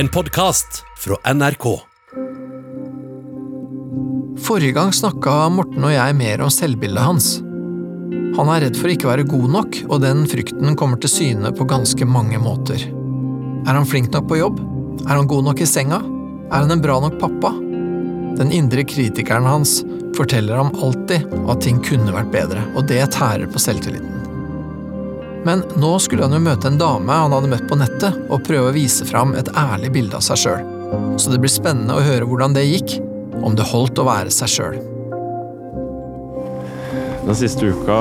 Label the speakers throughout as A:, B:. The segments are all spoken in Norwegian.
A: En podkast fra NRK.
B: Forrige gang snakka Morten og jeg mer om selvbildet hans. Han er redd for ikke å være god nok, og den frykten kommer til syne på ganske mange måter. Er han flink nok på jobb? Er han god nok i senga? Er han en bra nok pappa? Den indre kritikeren hans forteller ham alltid at ting kunne vært bedre, og det tærer på selvtilliten. Men nå skulle han jo møte en dame han hadde møtt på nettet, og prøve å vise fram et ærlig bilde av seg sjøl. Så det blir spennende å høre hvordan det gikk, om det holdt å være seg sjøl.
C: Den siste uka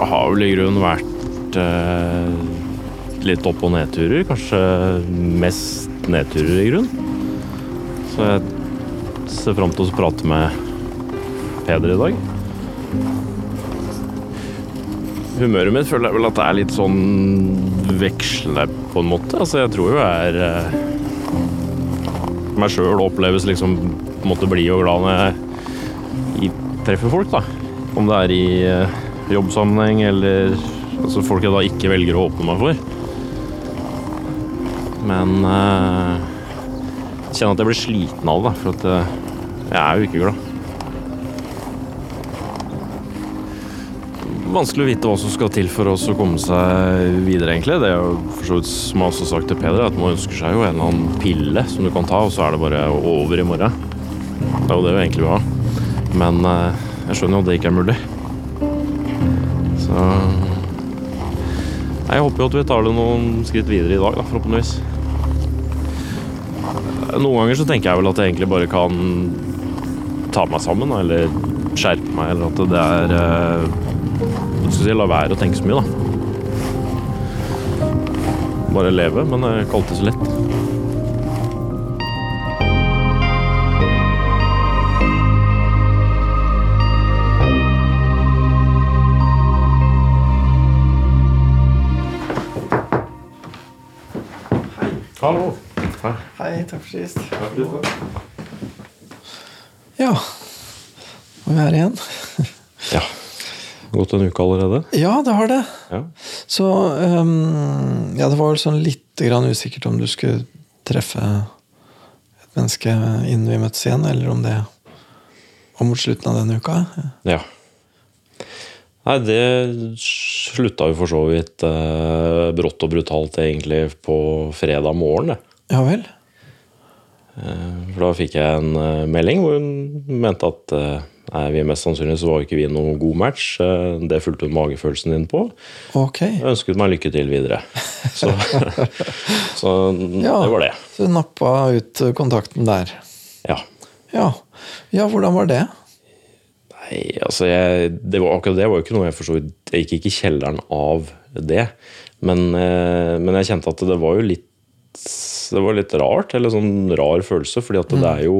C: har vel i grunnen vært eh, litt opp- og nedturer. Kanskje mest nedturer, i grunnen. Så jeg ser fram til å prate med Peder i dag. Humøret mitt føler jeg vel at det er litt sånn vekslende, på en måte. Altså, jeg tror jo jeg er eh, meg sjøl oppleves liksom på en måte blid og glad når jeg i, treffer folk, da. Om det er i eh, jobbsammenheng eller altså folk jeg da ikke velger å åpne meg for. Men eh, jeg kjenner at jeg blir sliten av det, for at eh, jeg er jo ikke glad. Vanskelig å vite hva som skal til for oss å komme seg videre, egentlig. Det er jo for så vidt, som jeg også har sagt til Peder, at man ønsker seg jo en eller annen pille som du kan ta, og så er det bare over i morgen. Det er jo det vi egentlig vil ha. Men eh, jeg skjønner jo at det ikke er mulig. Så Nei, Jeg håper jo at vi tar det noen skritt videre i dag, da, forhåpentligvis. Noen ganger så tenker jeg vel at jeg egentlig bare kan ta meg sammen, da, eller skjerpe meg, eller at det er eh, Hva skal jeg si La være å tenke så mye, da. Bare leve, men det er ikke alltid så lett. Hallo.
B: Hei, takk for sist. Ja, nå er vi her igjen.
C: Ja. Gått en uke allerede?
B: Ja, det har det.
C: Ja.
B: Så ehm, Ja, det var vel sånn litt grann usikkert om du skulle treffe et menneske innen vi møttes igjen, eller om det var mot slutten av denne uka.
C: Ja. Nei, det slutta jo for så vidt eh, brått og brutalt egentlig på fredag morgen. Det.
B: Ja vel?
C: Eh, For da fikk jeg en eh, melding hvor hun mente at eh, nei, vi mest sannsynlig så var jo ikke vi noen god match. Eh, Det fulgte hun magefølelsen din på.
B: Ok.
C: Jeg ønsket meg lykke til videre. Så, så
B: Ja.
C: det var det.
B: Så du nappa ut kontakten der.
C: Ja.
B: Ja. ja, hvordan var det?
C: Nei, altså jeg, det var, akkurat det var jo ikke noe jeg forstod. Jeg gikk ikke i kjelleren av det. Men, eh, men jeg kjente at det var jo litt Det var litt rart, eller sånn rar følelse, fordi at det
B: Mm.
C: er jo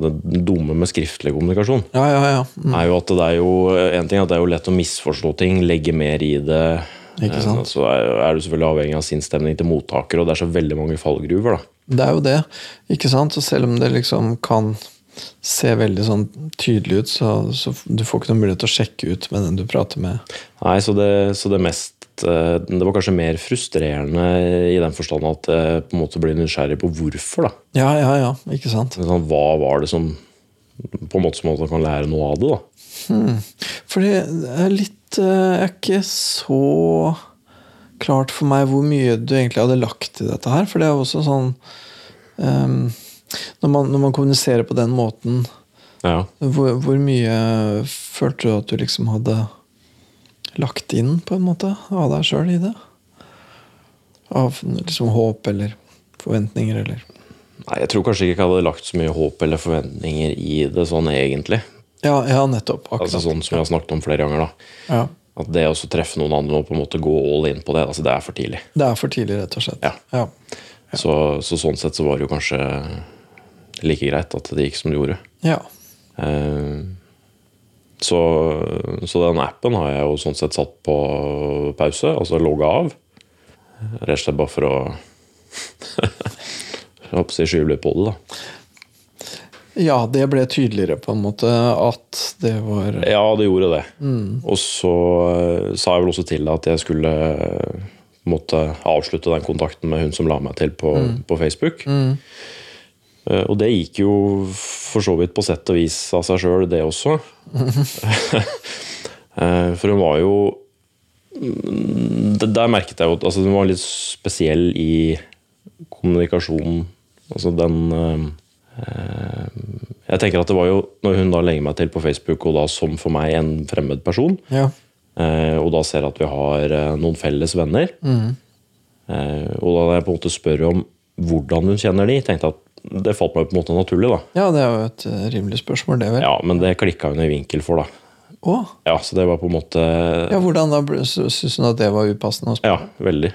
C: det dumme med skriftlig kommunikasjon
B: Ja, ja, ja. Mm.
C: er jo at det er jo en ting er at det er jo lett å misforstå ting, legge mer i det.
B: Ikke sant?
C: Eh, Så er er du selvfølgelig avhengig av sinnsstemning til mottaker, og det er så veldig mange fallgruver. da.
B: Det er jo det, ikke sant? Og selv om det liksom kan se veldig sånn tydelig ut, så, så du får ikke noen mulighet til å sjekke ut med den du prater med.
C: Nei, så det, så det mest eh, Det var kanskje mer frustrerende i den forstand at jeg på en måte blir nysgjerrig på hvorfor. da.
B: Ja, ja, ja, ikke sant?
C: Men Sånn, hva var det som På en måte som at man kan lære noe av det. da.
B: Hmm. Fordi det er litt eh, Jeg er ikke så klart for meg hvor mye du egentlig hadde lagt i dette her, for det er jo også sånn ehm, når, man, når man kommuniserer på den måten,
C: Ja.
B: hvor, hvor mye følte du at du liksom hadde lagt inn, på en måte, av deg sjøl i det? Av liksom håp eller forventninger eller
C: Nei, Jeg tror kanskje ikke jeg hadde lagt så mye håp eller forventninger i det sånn egentlig.
B: Ja, ja nettopp. Akkurat.
C: Altså Sånn som jeg har snakket om flere ganger. da.
B: ja.
C: At det å så treffe noen andre og på en måte gå all in på det, altså det er for tidlig.
B: Det er for tidlig, rett og slett.
C: Ja. Så, så sånn sett så var det jo kanskje like greit at det gikk som det gjorde.
B: Ja.
C: Eh, Så, så den appen har jeg jo sånn sett satt på pause, altså logga av. Rett og slett bare for å Jeg håper å si skyve litt på det, da.
B: ja, det ble tydeligere, på en måte, at det var
C: Ja, det gjorde det. Og så eh, sa jeg vel også til deg at jeg skulle måtte avslutte den kontakten med hun som la meg til på, på Facebook. Eh, Og det gikk jo for så vidt på sett og vis av seg sjøl, det også. Eh, for hun var jo mm, d- Der merket jeg jo at altså, hun var litt spesiell i kommunikasjonen. Altså den eh, eh, Jeg tenker at det var jo når hun da legger meg til på Facebook, og da som for meg en fremmed person,
B: Ja.
C: Eh, og da ser jeg at vi har eh, noen felles venner. Eh, og da jeg på en måte spør om hvordan hun kjenner de, tenkte jeg at det falt meg på en måte naturlig. da.
B: ja, det er jo et eh, rimelig spørsmål, det vel.
C: Ja, Men det klikka hun i vinkel for, da.
B: Å,
C: Ja, Så det var på en måte
B: ja, hvordan da? ble- sy- Syns hun at det var upassende å spørre?
C: Ja, veldig.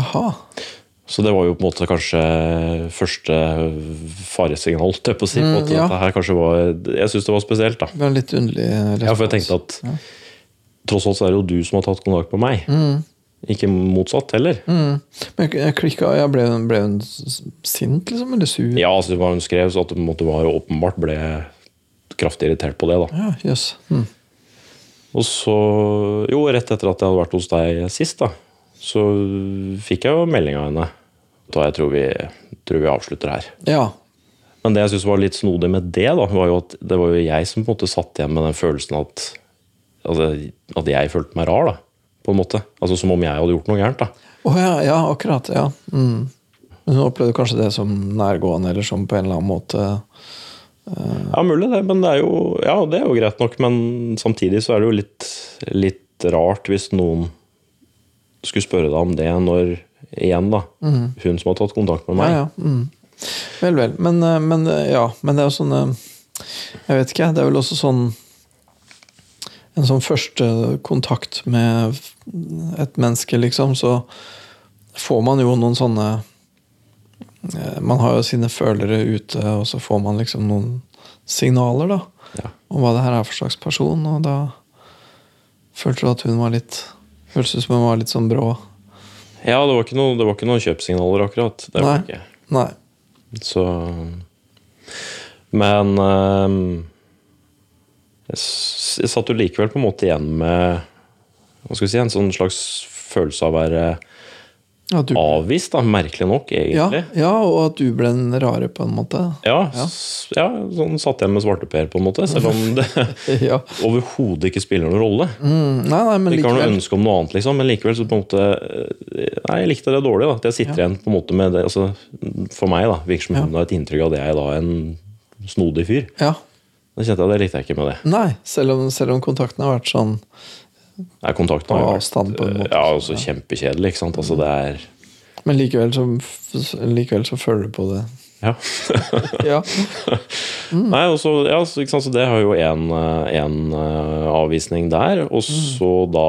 B: Jaha.
C: Så det var jo på en måte kanskje første faresignal, holdt jeg på å si. på
B: Mm,
C: en måte,
B: ja.
C: at det her kanskje var, Jeg syns det var spesielt, da.
B: Det var en litt underlig respons.
C: Ja, for jeg tenkte at tross alt så er det jo du som har tatt kontakt med meg. Ikke motsatt heller.
B: Mm. Men jeg- jeg klikka, jeg ble, ble hun s- sint, liksom? Eller sur?
C: Ja, altså hva hun skrev, så at det på en måte var åpenbart ble kraftig irritert på det. da.
B: Ja, jøss. Hm.
C: Og så, jo, rett etter at jeg hadde vært hos deg sist, da, så fikk jeg jo melding av henne. Da jeg tror vi, tror vi avslutter her.
B: Ja.
C: Men det jeg syntes var litt snodig med det, da, var jo at det var jo jeg som på en måte satt igjen med den følelsen at altså, at jeg følte meg rar, da. På en måte. Altså Som om jeg hadde gjort noe gærent. da.
B: Å ja, ja, akkurat. Ja. Mm. Men hun opplevde kanskje det som nærgående, eller som på en eller annen måte
C: Ja, mulig det, men det er jo, ja, det er jo greit nok. Men samtidig så er det jo litt, litt rart hvis noen skulle spørre deg om det når Igjen, da. Hun som har tatt kontakt med meg.
B: Mhm. Ja, ja. Mm. Vel, vel. Men, eh, men eh, ja, men det er jo sånn eh, Jeg vet ikke, det er vel også sånn En sånn første kontakt med f- et menneske, liksom, så får man jo noen sånne eh, Man har jo sine følere ute, og så får man liksom noen signaler, da.
C: Ja.
B: Om hva det her er for slags person, og da følte du at hun var litt Føltes ut som hun var litt sånn brå.
C: Ja, det, var ikke noe, det var ikke noen kjøpsignaler, akkurat. Det var det
B: Nei.
C: ikke.
B: Nei.
C: Så Men ehm, jeg, s- jeg satt jo likevel på en måte igjen med hva skal vi si, en sånn slags følelse av å være
B: Ja, du,
C: avvist, da, merkelig nok,
B: Ja,
C: egentlig.
B: ja, og at du ble den rare, på en måte.
C: Ja, s- ja. sånn satt jeg med svarteper, på en måte. Selv om det
B: Ja.
C: overhodet ikke spiller noen rolle.
B: Mm, nei, nei, men
C: Ikke har noe
B: likevel.
C: ønske om noe annet, liksom, men likevel så på en måte eh, Nei, jeg likte det dårlig. da, At jeg sitter igjen på en måte med det altså, For meg da, virker som hun har et inntrykk av at jeg da er en snodig fyr.
B: Ja.
C: Da kjente jeg det likte jeg ikke med det.
B: Nei, selv om, selv om kontakten har vært sånn
C: Nei, kontakten
B: På
C: har jo
B: avstand, på en måte.
C: eh, Ja, altså kjempekjedelig, ikke sant. Altså det er
B: Men likevel så, f- likevel så føler du på det.
C: Ja.
B: Ja. Mm.
C: Nei, og så, ja, så, ikke sant? så det har jo en, eh, en eh, avvisning der. Og
B: Mm.
C: så da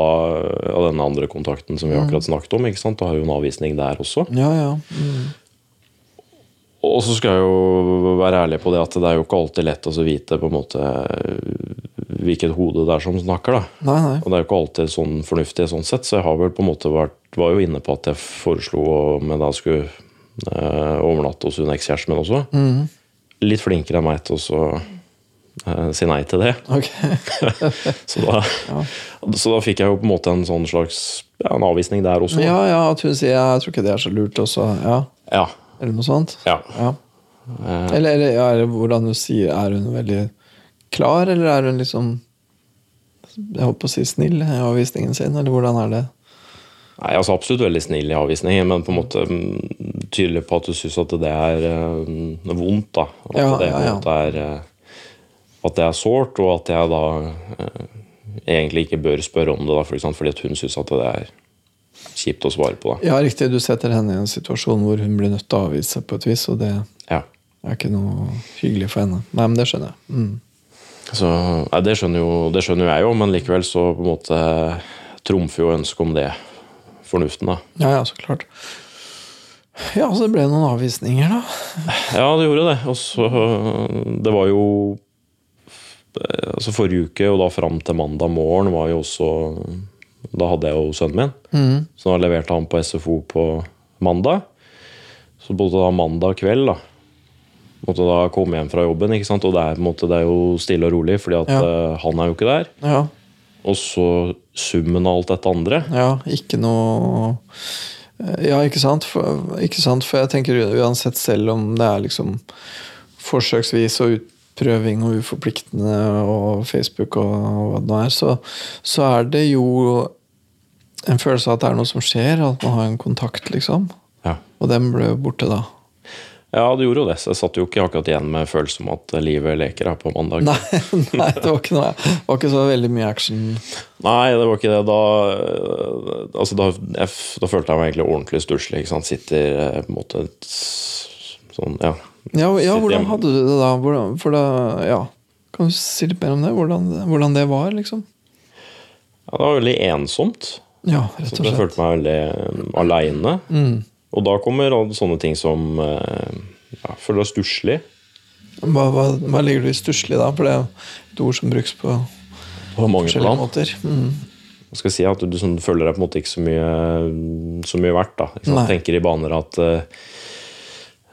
C: ja, den andre kontakten som vi akkurat snakket om, ikke sant? da har jo en avvisning der også.
B: Ja, ja. Mm.
C: Og så skal jeg jo være ærlig på det at det er jo ikke alltid lett å så vite på en måte eh, hvilket hode det er som snakker, da.
B: Nei, nei.
C: Og det er jo ikke alltid sånn fornuftig sånn sett, så jeg har vel på en måte vært, var jo inne på at jeg foreslo om jeg da skulle eh, overnatte hos hun ekskjæresten min også. Litt flinkere enn meg til å så, eh, si nei til det.
B: Ok.
C: Så da, så da fikk jeg jo på en måte en sånn slags ja, en avvisning der også.
B: Ja, ja, at hun sier ja, 'jeg tror ikke det er så lurt', og så ja.
C: Ja.
B: Eller noe sånt.
C: ja.
B: Ja. Eller, eller ja, eller hvordan hun sier Er hun veldig klar, eller er hun liksom Jeg holdt på å si snill i avvisningen sin, eller hvordan er det?
C: Nei, altså absolutt veldig snill i avvisningen, men på en måte mm, tydelig på at du syns at det er eh, vondt. da. At
B: Ja,
C: det på en
B: ja, ja.
C: måte er eh, at det er sårt, og at jeg da eh, egentlig ikke bør spørre om det, da, for eksempel, fordi at hun syns at det er kjipt å svare på. da.
B: Ja, riktig. Du setter henne i en situasjon hvor hun blir nødt til å avvise på et vis, og det
C: Ja.
B: er ikke noe hyggelig for henne. Nei, men det skjønner jeg. Mm.
C: Så, nei, det, skjønner jo, det skjønner jo jeg jo, men likevel så på en måte trumfer jo ønsket om det fornuften. da.
B: Ja, ja, så klart. Ja, så det ble noen avvisninger, da.
C: Ja, det gjorde det. Og så Det var jo Altså forrige uke og da fram til mandag morgen var jo også Da hadde jeg jo sønnen min. Så da leverte han på SFO på mandag. Så både da mandag kveld da måtte da komme hjem fra jobben, ikke sant? og det er, på en måte, det er jo stille og rolig, fordi at
B: Ja.
C: eh, han er jo ikke der.
B: Ja.
C: Og så summen av alt dette andre.
B: Ja, ikke noe eh, Ja, ikke sant? For, ikke sant? For jeg tenker uansett, selv om det er liksom forsøksvis og utprøving og uforpliktende og Facebook og hva det nå er, så, så er det jo en følelse av at det er noe som skjer, at man har en kontakt, liksom.
C: Ja,
B: Og den ble jo borte da.
C: ja det gjorde jo det. Så jeg satt jo ikke akkurat igjen med følelsen om at livet leker her på mandag.
B: Nei, nei det, var ikke noe, det var ikke så veldig mye action.
C: Nei, det var ikke det. Da, eh, altså, da, jeg, f- da følte jeg meg egentlig ordentlig stusslig. ikke sant? Sitter eh, på en måte et, s- sånn, ja.
B: Ja, ja,
C: Sitter
B: hvordan
C: hjemme.
B: hadde du det da? Hvordan, for da ja. Kan du si litt mer om det? Hvordan, hvordan det var, liksom?
C: ja. Det var veldig ensomt.
B: Ja,
C: Så
B: rett og
C: jeg
B: slett.
C: følte meg veldig eh, aleine. Og da kommer alle sånne ting som eh, ja, Føler deg stusslig.
B: Hva, hva, hva ligger du i stusslig da? For det er jo et ord som brukes på
C: På mange
B: forskjellige
C: plan.
B: måter. Mm.
C: Hva skal jeg si, at du sånn, føler deg på en måte ikke så mye, mm, så mye verdt. Da. Ikke sant?
B: Nei.
C: Tenker i baner at eh,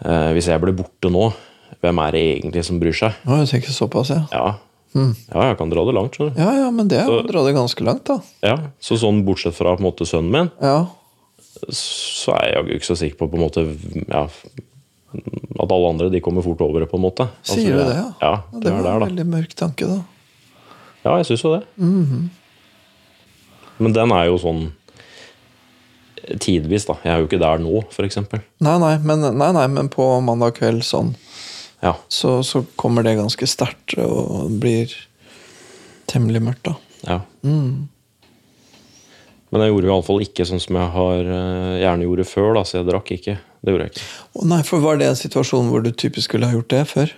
C: eh, hvis jeg blir borte nå, hvem er det egentlig som bryr seg?
B: Å, jeg tenker såpass, ja.
C: Ja, ja jeg kan dra det langt, skjønner du.
B: Ja, ja, men det er jo å dra det ganske langt, da.
C: Ja, så sånn Bortsett fra på en måte sønnen min,
B: Ja,
C: så er jeg jaggu ikke så sikker på på en måte, ja, at alle andre de kommer fort over det. på en måte. Altså,
B: Sier du
C: jeg-
B: det, ja?
C: Ja,
B: Ja,
C: det,
B: det
C: er
B: var
C: der,
B: en
C: da.
B: veldig mørk tanke, da.
C: Ja, jeg syns jo det.
B: Mhm.
C: Men den er jo sånn tidvis, da. Jeg er jo ikke der nå, f.eks.
B: Nei nei, men, nei, nei, men på mandag kveld sånn,
C: Ja.
B: så, så kommer det ganske sterkt og blir temmelig mørkt, da.
C: ja.
B: Mm.
C: Men jeg gjorde iallfall ikke sånn som jeg har eh, gjerne gjorde før, da, så jeg drakk ikke. Det gjorde jeg ikke.
B: Å nei, for Var det en situasjon hvor du typisk skulle ha gjort det før?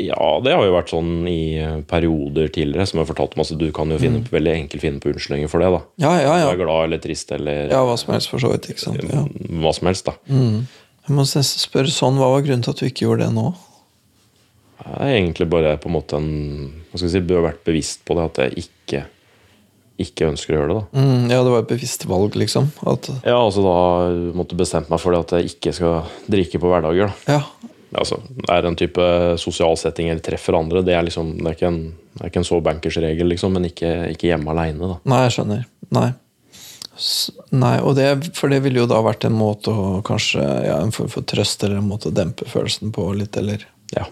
C: Ja, det har jo vært sånn i eh, perioder tidligere, som jeg fortalte meg. Så Altså, du kan jo finne, veldig enkelt finne på unnskyldninger for det. da.
B: Ja, ja,
C: Du
B: ja.
C: er glad eller trist eller
B: Ja, Hva som helst, for så vidt. ikke sant? Ja.
C: hva som helst, da.
B: Jeg må nesten spørre sånn, Hva var grunnen til at du ikke gjorde det nå?
C: Jeg er egentlig bare på en måte en Hva skal jeg si, bør vært bevisst på det, at jeg ikke, ikke ønsker å gjøre det. da.
B: Mm, ja, det var et bevisst valg, liksom. At,
C: Ja, altså da måtte bestemt meg for det at jeg ikke skal drikke på hverdager. da.
B: ja,
C: Altså, Er det en type sosial setting eller treffer andre, det er liksom, det er ikke en, det er ikke en så bankers-regel, liksom, men ikke, ikke hjemme aleine, da.
B: Nei, jeg skjønner. Nei. S nei og det, for det ville jo da vært en måte å kanskje ja, En form for trøst eller en måte å dempe følelsen på litt, eller
C: Ja.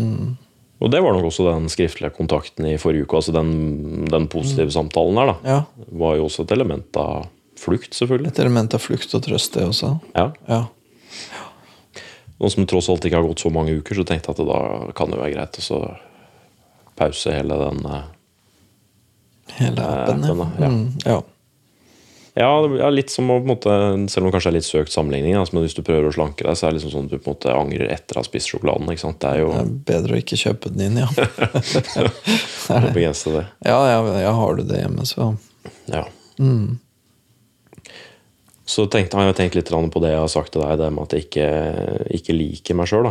C: Og det var nok også den skriftlige kontakten i forrige uke. altså Den, den positive samtalen her, da.
B: Ja.
C: Var jo også et element av flukt, selvfølgelig.
B: Et element av flukt og trøst, det også.
C: Ja.
B: Ja.
C: Nå som det tross alt ikke har gått så mange uker, så tenkte jeg at det da kan det være greit å så pause hele den eh,
B: Hele appen. Ja.
C: appen, Eh, sånn, ja.
B: Mm, ja.
C: Ja, det blir- ja, litt som å på en måte, selv om det kanskje er litt søkt sammenligning, altså, men hvis du prøver å slanke deg, så er det liksom sånn at du på en måte angrer etter å ha spist sjokoladen. ikke sant? Det er jo
B: Det er bedre å ikke kjøpe den inn, ja.
C: å begrense det.
B: Ja, ja, ja, har du det hjemme, så
C: Ja. Så tenkte, har jeg tenkt litt grann på det jeg har sagt til deg, det med at jeg ikke, ikke liker meg sjøl.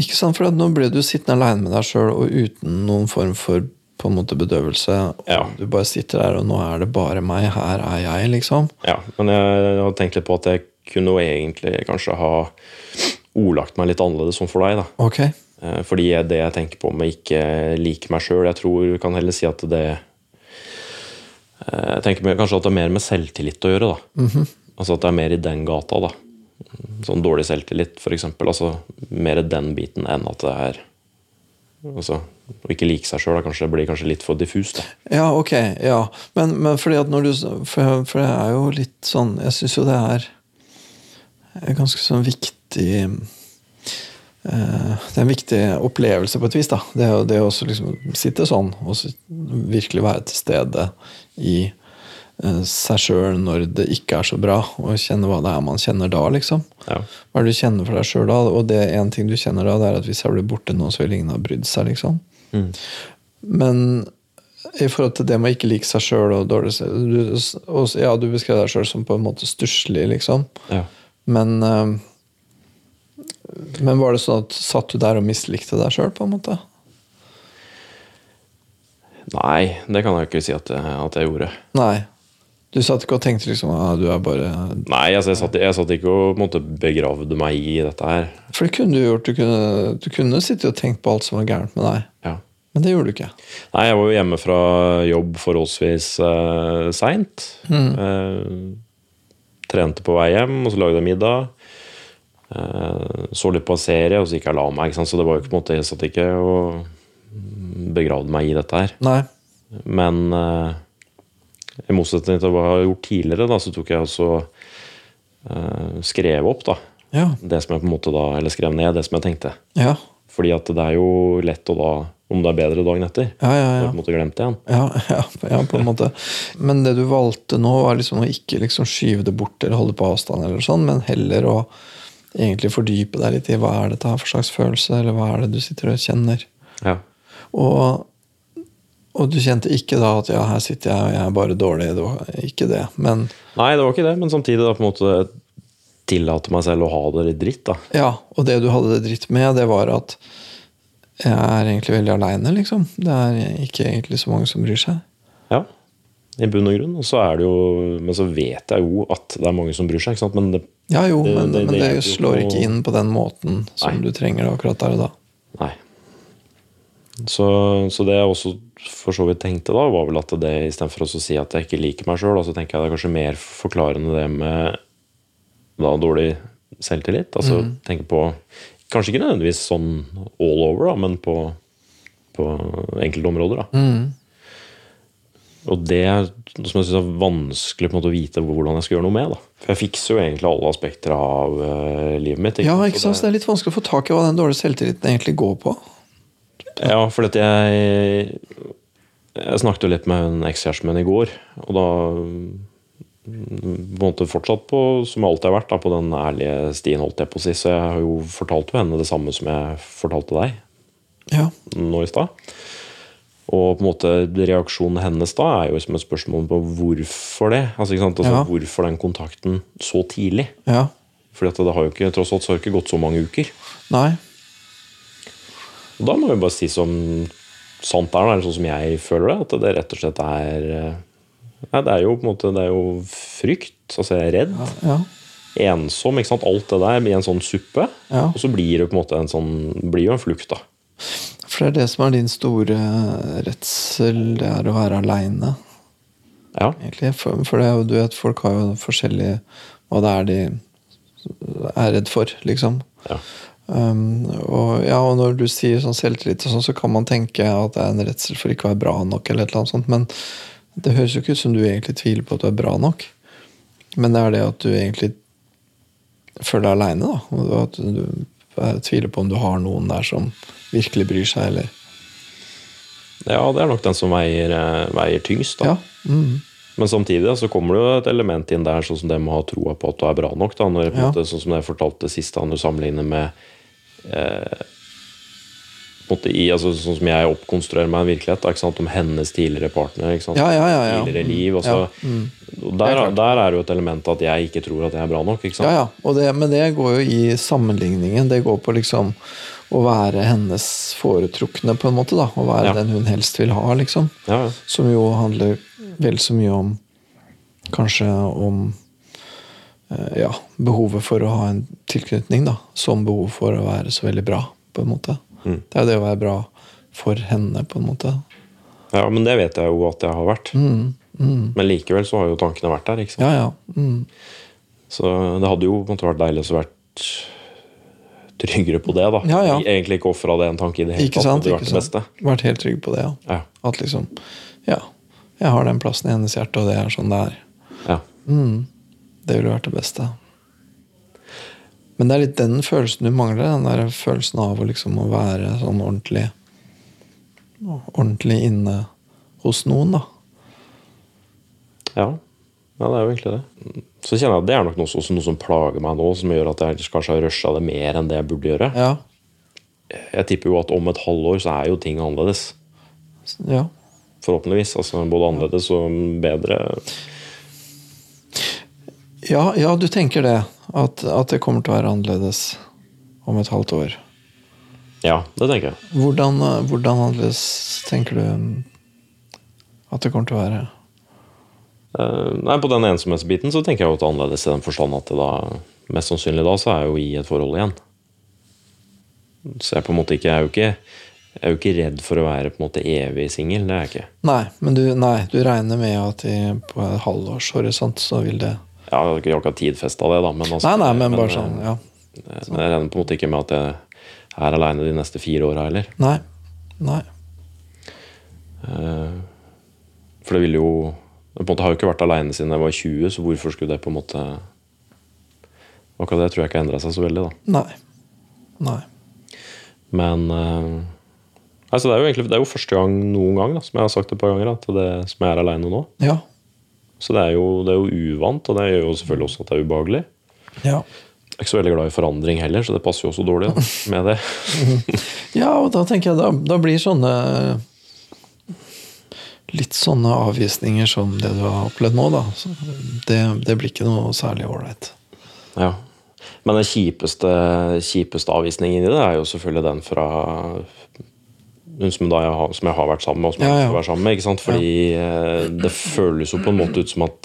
B: Ikke sant, for at nå ble du sittende aleine med deg sjøl og uten noen form for på en måte bedøvelse. og
C: Ja.
B: Du bare sitter der, og nå er det bare meg. Her er jeg, liksom.
C: Ja, men jeg har tenkt litt på at jeg kunne jo egentlig kanskje ha ordlagt meg litt annerledes som for deg. da.
B: Ok.
C: Eh, Fordi jeg- det jeg tenker på med ikke like meg sjøl, jeg tror jeg kan heller si at det eh, Jeg tenker mer- kanskje at det er mer med selvtillit å gjøre, da. Altså at det er mer i den gata, da. Sånn dårlig selvtillit, f.eks. Altså mer den biten enn at det er Altså å ikke like seg sjøl, kanskje det blir kanskje litt for diffust, da.
B: Ja, ok. Ja. Men, men fordi at når du For, for det er jo litt sånn Jeg syns jo det er en ganske sånn viktig eh, Det er en viktig opplevelse på et vis, da. Det, er jo- det å også liksom sitte sånn og så virkelig være til stede i eh, seg sjøl når det ikke er så bra, og kjenne hva det er man kjenner da, liksom.
C: Ja.
B: Hva er det du kjenner for deg sjøl da? Og det er en ting du kjenner da, det er at hvis jeg blir borte nå, så vil ingen ha brydd seg, liksom. Men i forhold til det med å ikke like seg sjøl og dårlig se- du, og, Ja, du beskrev deg sjøl som på en måte stusslig, liksom.
C: Ja.
B: Men eh, Men var det sånn at satt du der og mislikte deg sjøl, på en måte?
C: Nei, det kan jeg ikke si at, jeg- at jeg gjorde.
B: Nei. Du satt ikke og tenkte liksom ah, du er bare
C: Nei, altså, jeg, satt, jeg satt ikke og på en måte, begravde meg i dette her.
B: For det kunne du gjort. Du kunne, du kunne sittet og tenkt på alt som var gærent med deg.
C: Ja.
B: Men det gjorde du ikke.
C: Nei, jeg var jo hjemme fra jobb forholdsvis uh, seint. Eh, trente på vei hjem, og så lagde jeg middag. Eh, så litt på en serie, og så gikk jeg og la meg. Ikke sant? Så det var jo ikke på en måte jeg satt ikke og begravde meg i dette her.
B: Nei.
C: Men eh, i motsetning til hva jeg har gjort tidligere, da, så tok jeg også eh, skrev opp da,
B: Ja.
C: det som jeg på en måte da, eller skrev ned det som jeg tenkte.
B: Ja.
C: Fordi at det er jo lett å da, om det er bedre dagen etter,
B: Ja, ja,
C: så har jeg
B: ja.
C: på en måte glemt det igjen.
B: Ja, ja, ja, på en måte. Men det du valgte nå, var liksom å ikke liksom skyve det bort eller holde på avstand, eller sånn, men heller å egentlig fordype deg litt i hva er dette her for slags følelse, eller hva er det du sitter og kjenner.
C: Ja.
B: Og, og du kjente ikke da at ja, her sitter jeg og jeg er bare dårlig. Det var ikke det. Men
C: Nei, det var ikke det, men samtidig da på en måte tillate meg selv å ha det litt dritt da.
B: ja, og det du hadde det dritt med, det var at jeg er egentlig veldig aleine, liksom. Det er ikke egentlig så mange som bryr seg.
C: Ja, i bunn og grunn. Og så er det jo, men så vet jeg jo at det er mange som bryr seg, ikke sant? Men det,
B: Ja jo,
C: Det-
B: men det,
C: det-
B: men
C: det
B: det,
C: hjelper jo
B: slår
C: på-
B: ikke inn på den måten som
C: Nei.
B: du trenger det akkurat der og da.
C: nei. Så, så det jeg også for så vidt tenkte da, var vel at det i stedet for å så si at jeg ikke liker meg selv, da, så tenker jeg det er kanskje mer forklarende det med da dårlig selvtillit. Altså
B: Mhm.
C: tenke på, kanskje ikke nødvendigvis sånn all over da, men på, på enkelte områder da.
B: Mhm.
C: Og det er noe som jeg synes er vanskelig på en måte å vite hvordan jeg skal gjøre noe med. da. For jeg fikser jo egentlig alle aspekter av eh, livet mitt.
B: Ja,
C: sant?
B: ikke sant? Så det er litt vanskelig å få tak i hva den dårlige selvtilliten egentlig går på.
C: Ja, for at jeg Jeg snakket jo litt med en ekskjæresten min i går, og da mm, på en måte fortsatt på som jeg alltid har vært, da, på den ærlige stien, holdt jeg på å si. Så jeg har jo fortalt jo henne det samme som jeg fortalte deg
B: Ja,
C: nå i stad. Og på en måte reaksjonen hennes da er jo liksom et spørsmål på hvorfor det. Altså, ikke sant? Altså,
B: Ja.
C: Hvorfor den kontakten så tidlig?
B: ja.
C: Fordi at det har jo ikke, tross alt så har det ikke gått så mange uker.
B: Nei.
C: Og da må vi bare si som sant er, da, eller sånn som jeg føler det, at det rett og slett er eh, Nei, det er jo på en måte det er jo frykt. Altså jeg er redd,
B: Ja.
C: ensom, ikke sant. Alt det der i en sånn suppe.
B: Ja.
C: Og så blir det på en måte en sånn blir jo en flukt, da.
B: For det er det som er din store eh, redsel, det er å være aleine.
C: Ja.
B: egentlig. For, for det, er jo- du vet, folk har jo forskjellige Hva det er de er redd for, liksom.
C: Ja.
B: Um, og, ja, og når du sier sånn selvtillit, og sånn, så kan man tenke at det er en redsel for ikke å være bra nok, eller et eller annet sånt, men det høres jo ikke ut som du egentlig tviler på at du er bra nok. Men det er det at du egentlig føler deg aleine, da. Og at du er, tviler på om du har noen der som virkelig bryr seg, eller
C: ja, det er nok den som veier, eh, veier tyngst, da.
B: Ja. Mm.
C: Men samtidig da, så kommer det jo et element inn der, sånn som det med å ha troa på at du er bra nok. Da, når, på en
B: Ja.
C: måte, sånn som jeg fortalte sist, da, når du sammenligner med eh, på en måte, i, altså, Sånn som jeg oppkonstruerer meg en virkelighet, da, ikke sant? om hennes tidligere partner. Ikke sant?
B: Ja, ja, ja, Mm. ja.
C: Tidligere liv. Altså, og der, er der er jo et element at jeg ikke tror at jeg er bra nok. Ikke sant?
B: Ja, ja. Og det, men det går jo i sammenligningen. Det går på liksom å være hennes foretrukne, på en måte. da, Å være
C: Ja.
B: den hun helst vil ha, liksom.
C: Ja, ja.
B: Som jo handler vel så mye om Kanskje om eh, ja, behovet for å ha en tilknytning, da. Som behovet for å være så veldig bra, på en måte.
C: Mm.
B: Det er jo det å være bra for henne, på en måte.
C: Ja, men det vet jeg jo at jeg har vært.
B: Mm.
C: Men likevel så har jo tankene vært der. ikke sant?
B: Ja, ja. Mm.
C: Så det hadde jo på en måte vært deilig å vært tryggere på det, da.
B: Ja, ja.
C: Egentlig ikke ofra det en tanke i det hele
B: Ikke
C: tatt.
B: sant?
C: hadde
B: Ikke
C: vært det
B: sant?
C: beste.
B: Vært helt trygg på det, ja.
C: Ja,
B: At liksom Ja, jeg har den plassen i hennes hjerte, og det er sånn det er.
C: ja.
B: Mm. Det ville vært det beste. Men det er litt den følelsen du mangler. Den der følelsen av å liksom å være sånn ordentlig Ordentlig inne hos noen, da.
C: ja. Ja, det er jo egentlig det. Så kjenner jeg at det er nok noe, som- noe som plager meg nå, som gjør at jeg kanskje har rusha det mer enn det jeg burde gjøre.
B: Ja.
C: Jeg tipper jo at om et halvår så er jo ting annerledes.
B: ja.
C: Forhåpentligvis. altså Både annerledes og bedre.
B: Ja, ja du tenker det. At, at det kommer til å være annerledes om et halvt år.
C: Ja, det tenker jeg.
B: Hvordan, eh, hvordan annerledes tenker du mm, at det kommer til å være?
C: Eh, Nei, På den ensomhetsbiten så tenker jeg jo at det er annerledes i den forstand at det da, mest sannsynlig da så er jeg jo i et forhold igjen. Så jeg på en måte ikke jeg er jo ikke Jeg er jo ikke redd for å være på en måte evig singel. Det er jeg ikke.
B: Nei, men du, nei, du regner med at i, på en halvårshorisont så vil det
C: Jeg har ikke akkurat tidfesta det, da. Men, altså,
B: Nei, nei, men bare
C: eh,
B: sånn, ja.
C: Men jeg regner på en måte ikke med at jeg er aleine de neste fire åra heller.
B: Nei. Nei.
C: Eh, For det ville jo Jeg på en måte har jo ikke vært aleine siden jeg var 20, så hvorfor skulle det på en måte Akkurat det tror jeg ikke har endra seg så veldig, da.
B: Nei. Nei.
C: Men eh, altså det, er jo egentlig, det er jo første gang noen gang, da, som jeg har sagt et par ganger, at det som jeg er aleine nå.
B: Ja.
C: Så det er, jo, det er jo uvant, og det gjør jo selvfølgelig også at det er ubehagelig.
B: Ja.
C: Jeg er ikke så veldig glad i forandring heller, så det passer jo også dårlig da, med det.
B: Ja, og da tenker jeg da, da blir sånne Litt sånne avvisninger som det du har opplevd nå, da. Så Det, det blir ikke noe særlig ålreit.
C: Ja. Men den kjipeste, kjipeste avvisningen i det er jo selvfølgelig den fra hun som, da jeg har, som jeg har vært sammen med, og som jeg
B: Ja, ja.
C: skal være sammen med. ikke sant? Fordi eh, det føles jo på en måte ut som at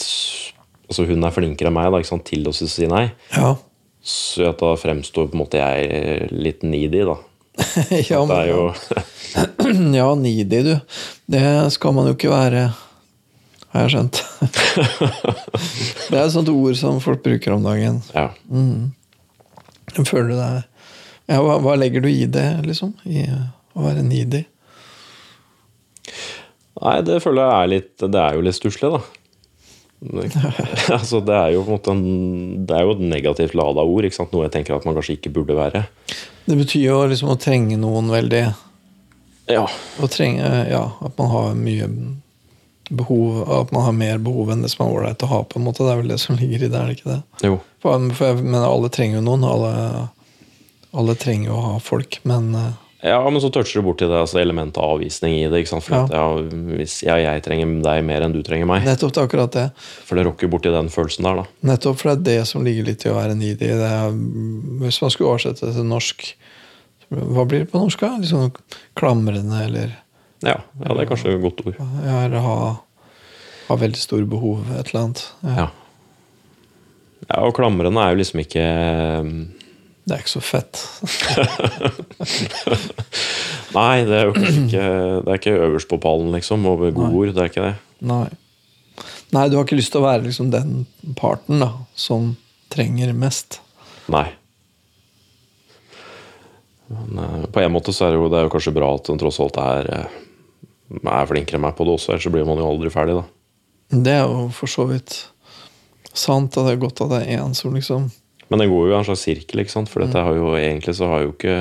C: altså hun er flinkere enn meg da, ikke sant? til å si nei.
B: Ja.
C: Så at da fremstår på en måte jeg litt needy, da.
B: ja,
C: Det er jo
B: ja, needy, du. Det skal man jo ikke være, har jeg skjønt. det er et sånt ord som folk bruker om dagen.
C: Ja.
B: Føler du deg ja, hva, hva legger du i det, liksom? I eh, å være needy?
C: Nei, det føler jeg er litt Det er jo litt stusslig, da. Det- altså, det er jo på en måte en, Det er jo et negativt lada ord, ikke sant? noe jeg tenker at man kanskje ikke burde være.
B: Det betyr jo liksom å trenge noen veldig.
C: Ja,
B: Å trenge, ja, at man har mye behov, at man har mer behov enn det som er ålreit å ha, på en måte. Det er vel det som ligger i det, er det ikke det?
C: jo.
B: For, for jeg mener, alle trenger jo noen. Alle, alle trenger jo å ha folk, men eh,
C: Ja, men så toucher du borti det altså elementet av avvisning i det. ikke sant? For
B: Ja.
C: at, ja, hvis ja, jeg trenger deg mer enn du trenger meg.
B: nettopp det er akkurat det.
C: For det rokker borti den følelsen der, da.
B: Nettopp for det er det som ligger litt i å være needy. Det er, hvis man skulle oversette det til norsk, hva blir det på norsk? da? Litt sånn klamrende, eller
C: Ja, ja det er kanskje et godt ord.
B: ja, eller ha, ha veldig store behov, et eller annet. Ja.
C: Ja. ja, og klamrende er jo liksom ikke Nei,
B: Det er ikke så fett.
C: det er jo kanskje ikke Det er ikke øverst på pallen, liksom, over gode ord. Det er ikke det.
B: Nei. Nei, du har ikke lyst til å være liksom den parten da, som trenger mest.
C: Nei. Men eh, på en måte så er det jo, det er jo kanskje bra at den tross alt er, eh, er flinkere enn meg på det også, ellers så blir man jo aldri ferdig, da.
B: Det er jo for så vidt sant, og det er godt at det er én som liksom
C: Men det går jo i en slags sirkel, ikke sant? For
B: Mm.
C: dette har jo egentlig så har jeg jo ikke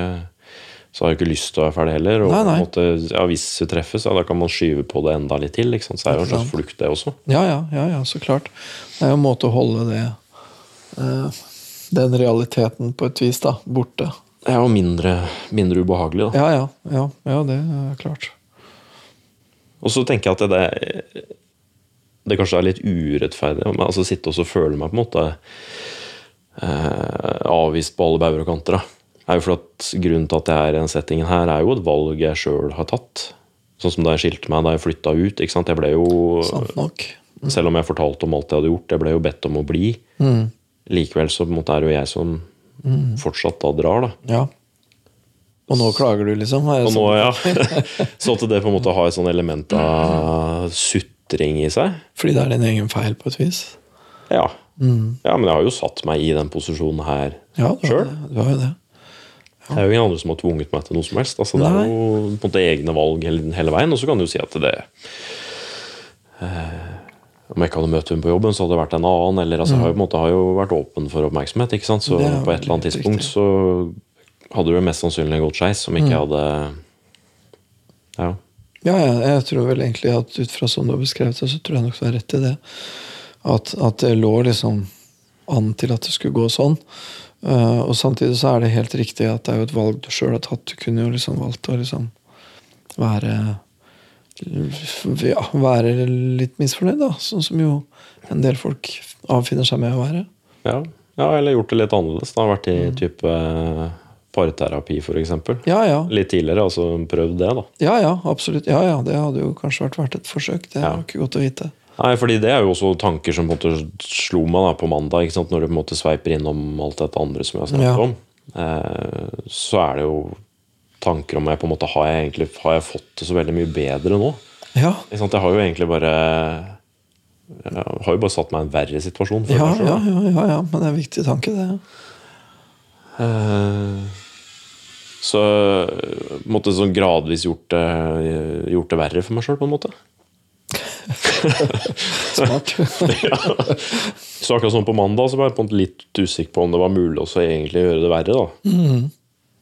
C: så har jeg ikke lyst til å være ferdig heller. Og
B: Nei,
C: på
B: nei.
C: en måte, ja, hvis det treffes, ja, da kan man skyve på det enda litt til. Ikke sant? Så er det jo en
B: Ikke
C: slags flukt, det også.
B: Ja, ja, ja, ja så klart. Det er jo en måte å holde det eh, Den realiteten, på et vis, da, borte.
C: Det er jo mindre, mindre ubehagelig, da.
B: Ja, ja, ja, ja, det er klart.
C: Og så tenker jeg at det, det, det kanskje er litt urettferdig. Men altså sitte og så føle meg på en måte eh, avvist på alle bauger og kanter. Da. Er jo for at Grunnen til at jeg er i den settingen her, er jo et valg jeg sjøl har tatt. Sånn som da jeg skilte meg, da jeg flytta ut. Ikke sant? Jeg ble jo,
B: Sant nok.
C: selv om jeg fortalte om alt jeg hadde gjort, jeg ble jo bedt om å bli. Likevel så på en måte er det jo jeg som fortsatt da drar, da.
B: Ja. Og nå klager du, liksom? Er det
C: Og nå,
B: sånn?
C: ja. Så at det på en måte har et sånt element av sutring i seg.
B: Fordi det er din egen feil, på et vis?
C: Ja.
B: Mm.
C: ja, men jeg har jo satt meg i den posisjonen her.
B: Ja, du har
C: Sure.
B: det. Du har jo det.
C: Det er jo ingen andre som har tvunget meg til noe som helst. Altså, det er
B: Nei.
C: jo på en måte egne valg hele, hele veien. Og så kan du jo si at det eh, Om jeg ikke hadde møtt hun på jobben, så hadde det vært en annen. Eller altså, jeg har jo på en måte har jo vært åpen for oppmerksomhet, ikke sant. Så
B: Det er jo
C: på et eller annet
B: helt
C: tidspunkt så hadde det mest sannsynlig gått skeis om ikke jeg
B: Mm.
C: hadde Ja.
B: Ja, jeg, jeg tror vel egentlig at ut fra som du har beskrevet det, så tror jeg nok du har rett i det. At, at det lå liksom an til at det skulle gå sånn. Eh, og samtidig så er det helt riktig at det er jo et valg du sjøl har tatt. Du kunne jo liksom valgt å liksom være ja, være litt misfornøyd, da. Sånn som jo en del folk avfinner seg med å være.
C: ja. Ja, eller gjort det litt annerledes. Da. Vært i type eh, parterapi, f.eks.
B: Mm. Ja ja.
C: Litt tidligere, altså prøvd det, da.
B: Ja ja, absolutt. Ja ja, det hadde jo kanskje vært verdt et forsøk. Det er
C: Ja.
B: jo ikke godt å vite.
C: Nei, fordi det er jo også tanker som på en måte slo meg da, på mandag, ikke sant? når du på en måte sveiper innom alt dette andre som jeg har snakket
B: Ja.
C: om. Eh, så er det jo tanker om meg på en måte, har, jeg egentlig, har jeg fått det så veldig mye bedre nå?
B: Ja,
C: Ikke sant? Jeg har jo egentlig bare jeg har jo bare satt meg i en verre situasjon. for
B: ja,
C: meg selv,
B: ja,
C: da.
B: ja, ja, ja, men det er en viktig tanke, det.
C: Eh, Så på en måte sånn gradvis gjort det, gjort det verre for meg sjøl, på en måte.
B: Smart.
C: Så akkurat sånn på mandag så var jeg på en måte litt usikker på om det var mulig også egentlig å gjøre det verre. da.
B: Mhm.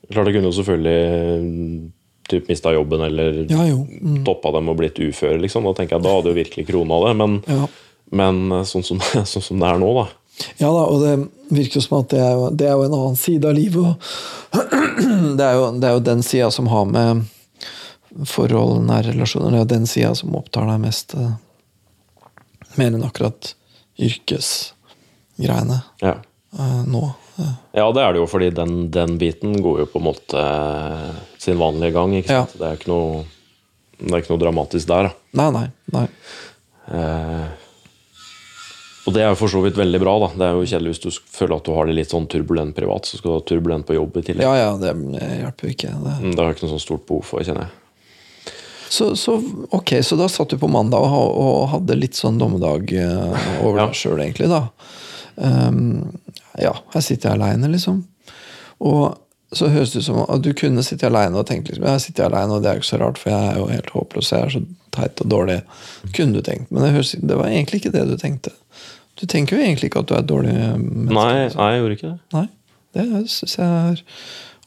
C: Klart jeg kunne jo selvfølgelig eh, typ mista jobben eller
B: Ja, jo. Mm.
C: toppa dem og blitt ufør. liksom. Da tenker jeg, da hadde jo virkelig krona det. Men,
B: Ja.
C: men sånn, som, sånn som det er nå, da.
B: Ja da, og det virker jo som at det er jo, det er jo en annen side av livet. Og det, er jo, det er jo den sida som har med forhold, nære relasjoner Det er jo den sida som opptar deg mest. eh, Mer enn akkurat yrkesgreiene
C: Ja.
B: eh, nå. Eh,
C: ja, det er det jo, fordi den, den biten går jo på en måte eh, sin vanlige gang. ikke sant? Det er jo ikke noe, det er ikke noe dramatisk der. da.
B: Nei, nei. nei.
C: Eh, og det er jo for så vidt veldig bra. da Det er jo kjedelig hvis du sk- føler at du har det litt sånn turbulent privat, så skal du ha turbulent på jobb i tillegg.
B: Ja ja, det hjelper jo ikke. Det.
C: Mm, Det har jeg ikke noe sånn stort behov for, kjenner jeg.
B: Så, så ok, så da satt du på mandag og, ha- og hadde litt sånn dommedag eh, over
C: Ja.
B: deg sjøl, egentlig, da. Ehm, ja, her sitter jeg aleine, liksom. Og så høres det ut som at du kunne sitte aleine og tenkt liksom, jeg sitter aleine, og det er jo ikke så rart, for jeg er jo helt håpløs, jeg er så teit og dårlig. Kunne du tenkt, men det, høres, det var egentlig ikke det du tenkte. Du tenker jo egentlig ikke at du er et dårlig menneske.
C: Nei,
B: liksom.
C: nei, jeg gjorde ikke det.
B: nei. Det syns jeg er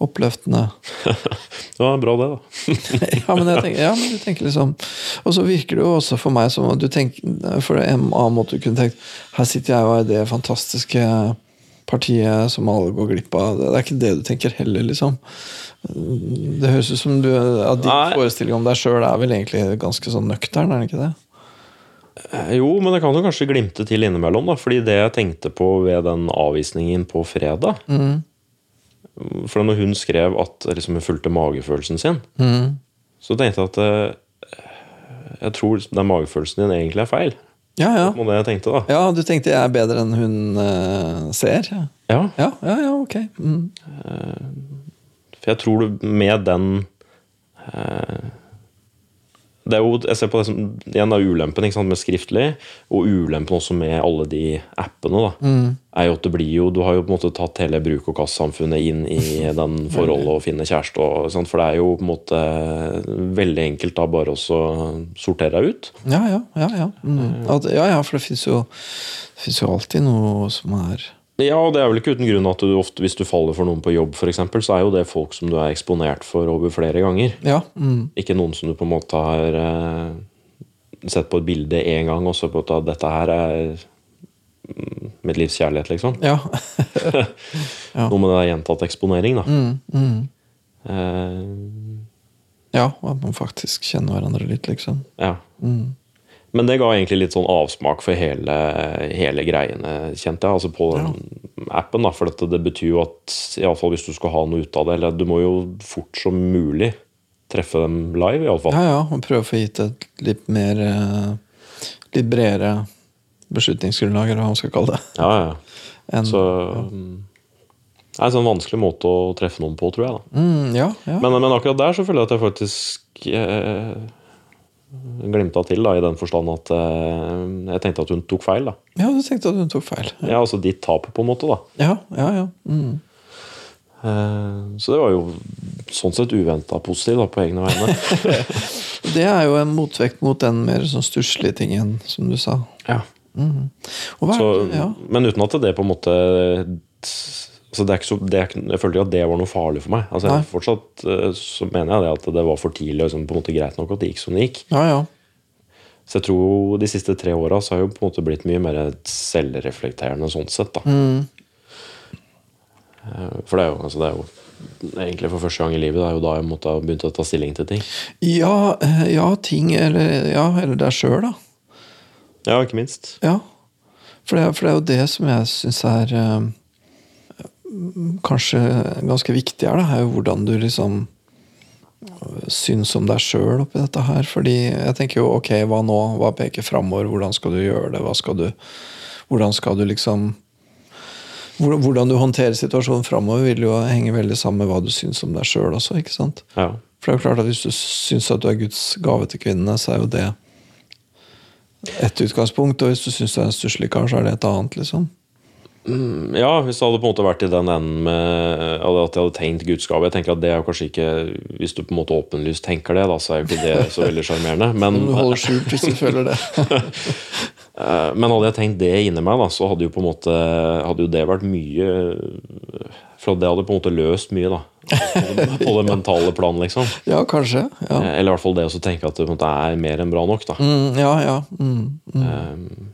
B: oppløftende.
C: Det var bra, det, da.
B: ja, men jeg tenker, ja, men du tenker liksom Og så virker det jo også for meg som at du tenker For det er en annen måte du kunne tenkt Her sitter jeg og er det fantastiske partiet som alle går glipp av. Det er ikke det du tenker heller, liksom. Det høres ut som du, at din
C: Nei.
B: forestilling om deg sjøl er vel egentlig ganske sånn nøktern, er det ikke det?
C: Eh, Jo, men det kan jo kanskje glimte til innimellom, da. Fordi det jeg tenkte på ved den avvisningen på fredag For når hun skrev at liksom, hun fulgte magefølelsen sin, så tenkte jeg at eh, jeg tror den magefølelsen din egentlig er feil.
B: Ja, ja.
C: Det var det jeg tenkte, da.
B: Ja, du tenkte jeg er bedre enn hun eh, ser? Ja,
C: Ja.
B: ja, ja, ja ok. Mm.
C: For jeg tror du med den eh, det er jo, Jeg ser på det som igjen da, ulempen ikke sant, med skriftlig, og ulempen også med alle de appene. da, er jo at det blir jo, Du har jo på en måte tatt hele bruk- og kastsamfunnet inn i den forholdet å finne kjæreste. Og, sant, for det er jo på en måte veldig enkelt da bare også sortere deg ut.
B: Ja, ja, ja. Ja, mm. at, ja, ja for det fins jo, det finnes jo alltid noe som er
C: Ja, og det er vel ikke uten grunn at du ofte, hvis du faller for noen på jobb, for eksempel, så er jo det folk som du er eksponert for over flere ganger.
B: Ja. Mm.
C: Ikke noen som du på en måte har eh, sett på et bilde én gang og så på at dette her er mm, mitt livs kjærlighet, liksom.
B: ja. Ja.
C: Noe med det der gjentatt eksponering, da.
B: mm, mm.
C: Eh,
B: ja, og at man faktisk kjenner hverandre litt, liksom.
C: ja.
B: Mm.
C: Men det ga egentlig litt sånn avsmak for hele, hele greiene, kjente jeg. Altså på den appen, da. For dette, det betyr jo at iallfall hvis du skal ha noe ut av det, eller du må jo fort som mulig treffe dem live, iallfall.
B: Ja, ja, og prøve å få gitt et litt mer eh, Litt bredere beslutningsgrunnlag, eller hva man skal kalle det.
C: Ja, ja.
B: enn-
C: Så mm, Det er en sånn vanskelig måte å treffe noen på, tror jeg. da.
B: mm, ja, ja.
C: Men, men akkurat der så føler jeg at jeg faktisk eh, glimta til, da, i den forstand at eh, jeg tenkte at hun tok feil. da.
B: ja, du tenkte at hun tok feil.
C: Ja, altså ditt tap, på en måte. da.
B: Ja, ja, ja. Mm.
C: Eh, så det var jo sånn sett uventa positiv da, på egne vegne.
B: Det er jo en motvekt mot den mer sånn stusslige tingen, som du sa.
C: ja.
B: Mm. Og hva er
C: så,
B: det? Ja.
C: Men uten at det på en måte altså det er ikke så, det er, ikke- Jeg følte ikke at det var noe farlig for meg. Altså,
B: Nei.
C: jeg, fortsatt eh, så mener jeg det at det var for tidlig. og Liksom, på en måte Greit nok at det gikk som det gikk.
B: ja, ja.
C: Så jeg tror de siste tre åra så har jeg jo på en måte blitt mye mer selvreflekterende sånn sett, da. Eh, For det er, jo, altså det er jo egentlig for første gang i livet det er jo da jeg måtte ha begynt å ta stilling til ting.
B: Ja, eh, ja ting Eller, ja, eller deg sjøl, da.
C: Ja, ikke minst.
B: Ja. For det, for det er jo det som jeg syns er eh, kanskje ganske viktig her, da, er jo hvordan du liksom eh, syns om deg sjøl oppi dette her. Fordi jeg tenker jo ok, hva nå? Hva peker framover? Hvordan skal du gjøre det? Hva skal du, hvordan skal du liksom hvor- Hvordan du håndterer situasjonen framover, vil jo henge veldig sammen med hva du syns om deg sjøl også. ikke sant?
C: Ja.
B: For det er jo klart at Hvis du syns at du er Guds gave til kvinnene, så er jo det et utgangspunkt. Og hvis du syns du er en stusslig kar, så er det et annet. liksom.
C: ja, hvis det hadde på en måte vært i den enden med eh, at jeg hadde tenkt Guds gave Jeg tenker at det er jo kanskje ikke Hvis du på en måte åpenlyst tenker det, da, så er jo ikke det så veldig sjarmerende. Men,
B: Om du holder skjult hvis du føler det.
C: Eh, Men hadde jeg tenkt det inni meg, da, så hadde jo på en måte Hadde jo det vært mye For det hadde på en måte løst mye, da. På det, på det mentale plan, liksom.
B: Ja, kanskje.
C: Eh,
B: Ja,
C: Eller i hvert fall det å så tenke at det på en måte er mer enn bra nok, da.
B: mm, ja. Ja, mm.
C: Eh,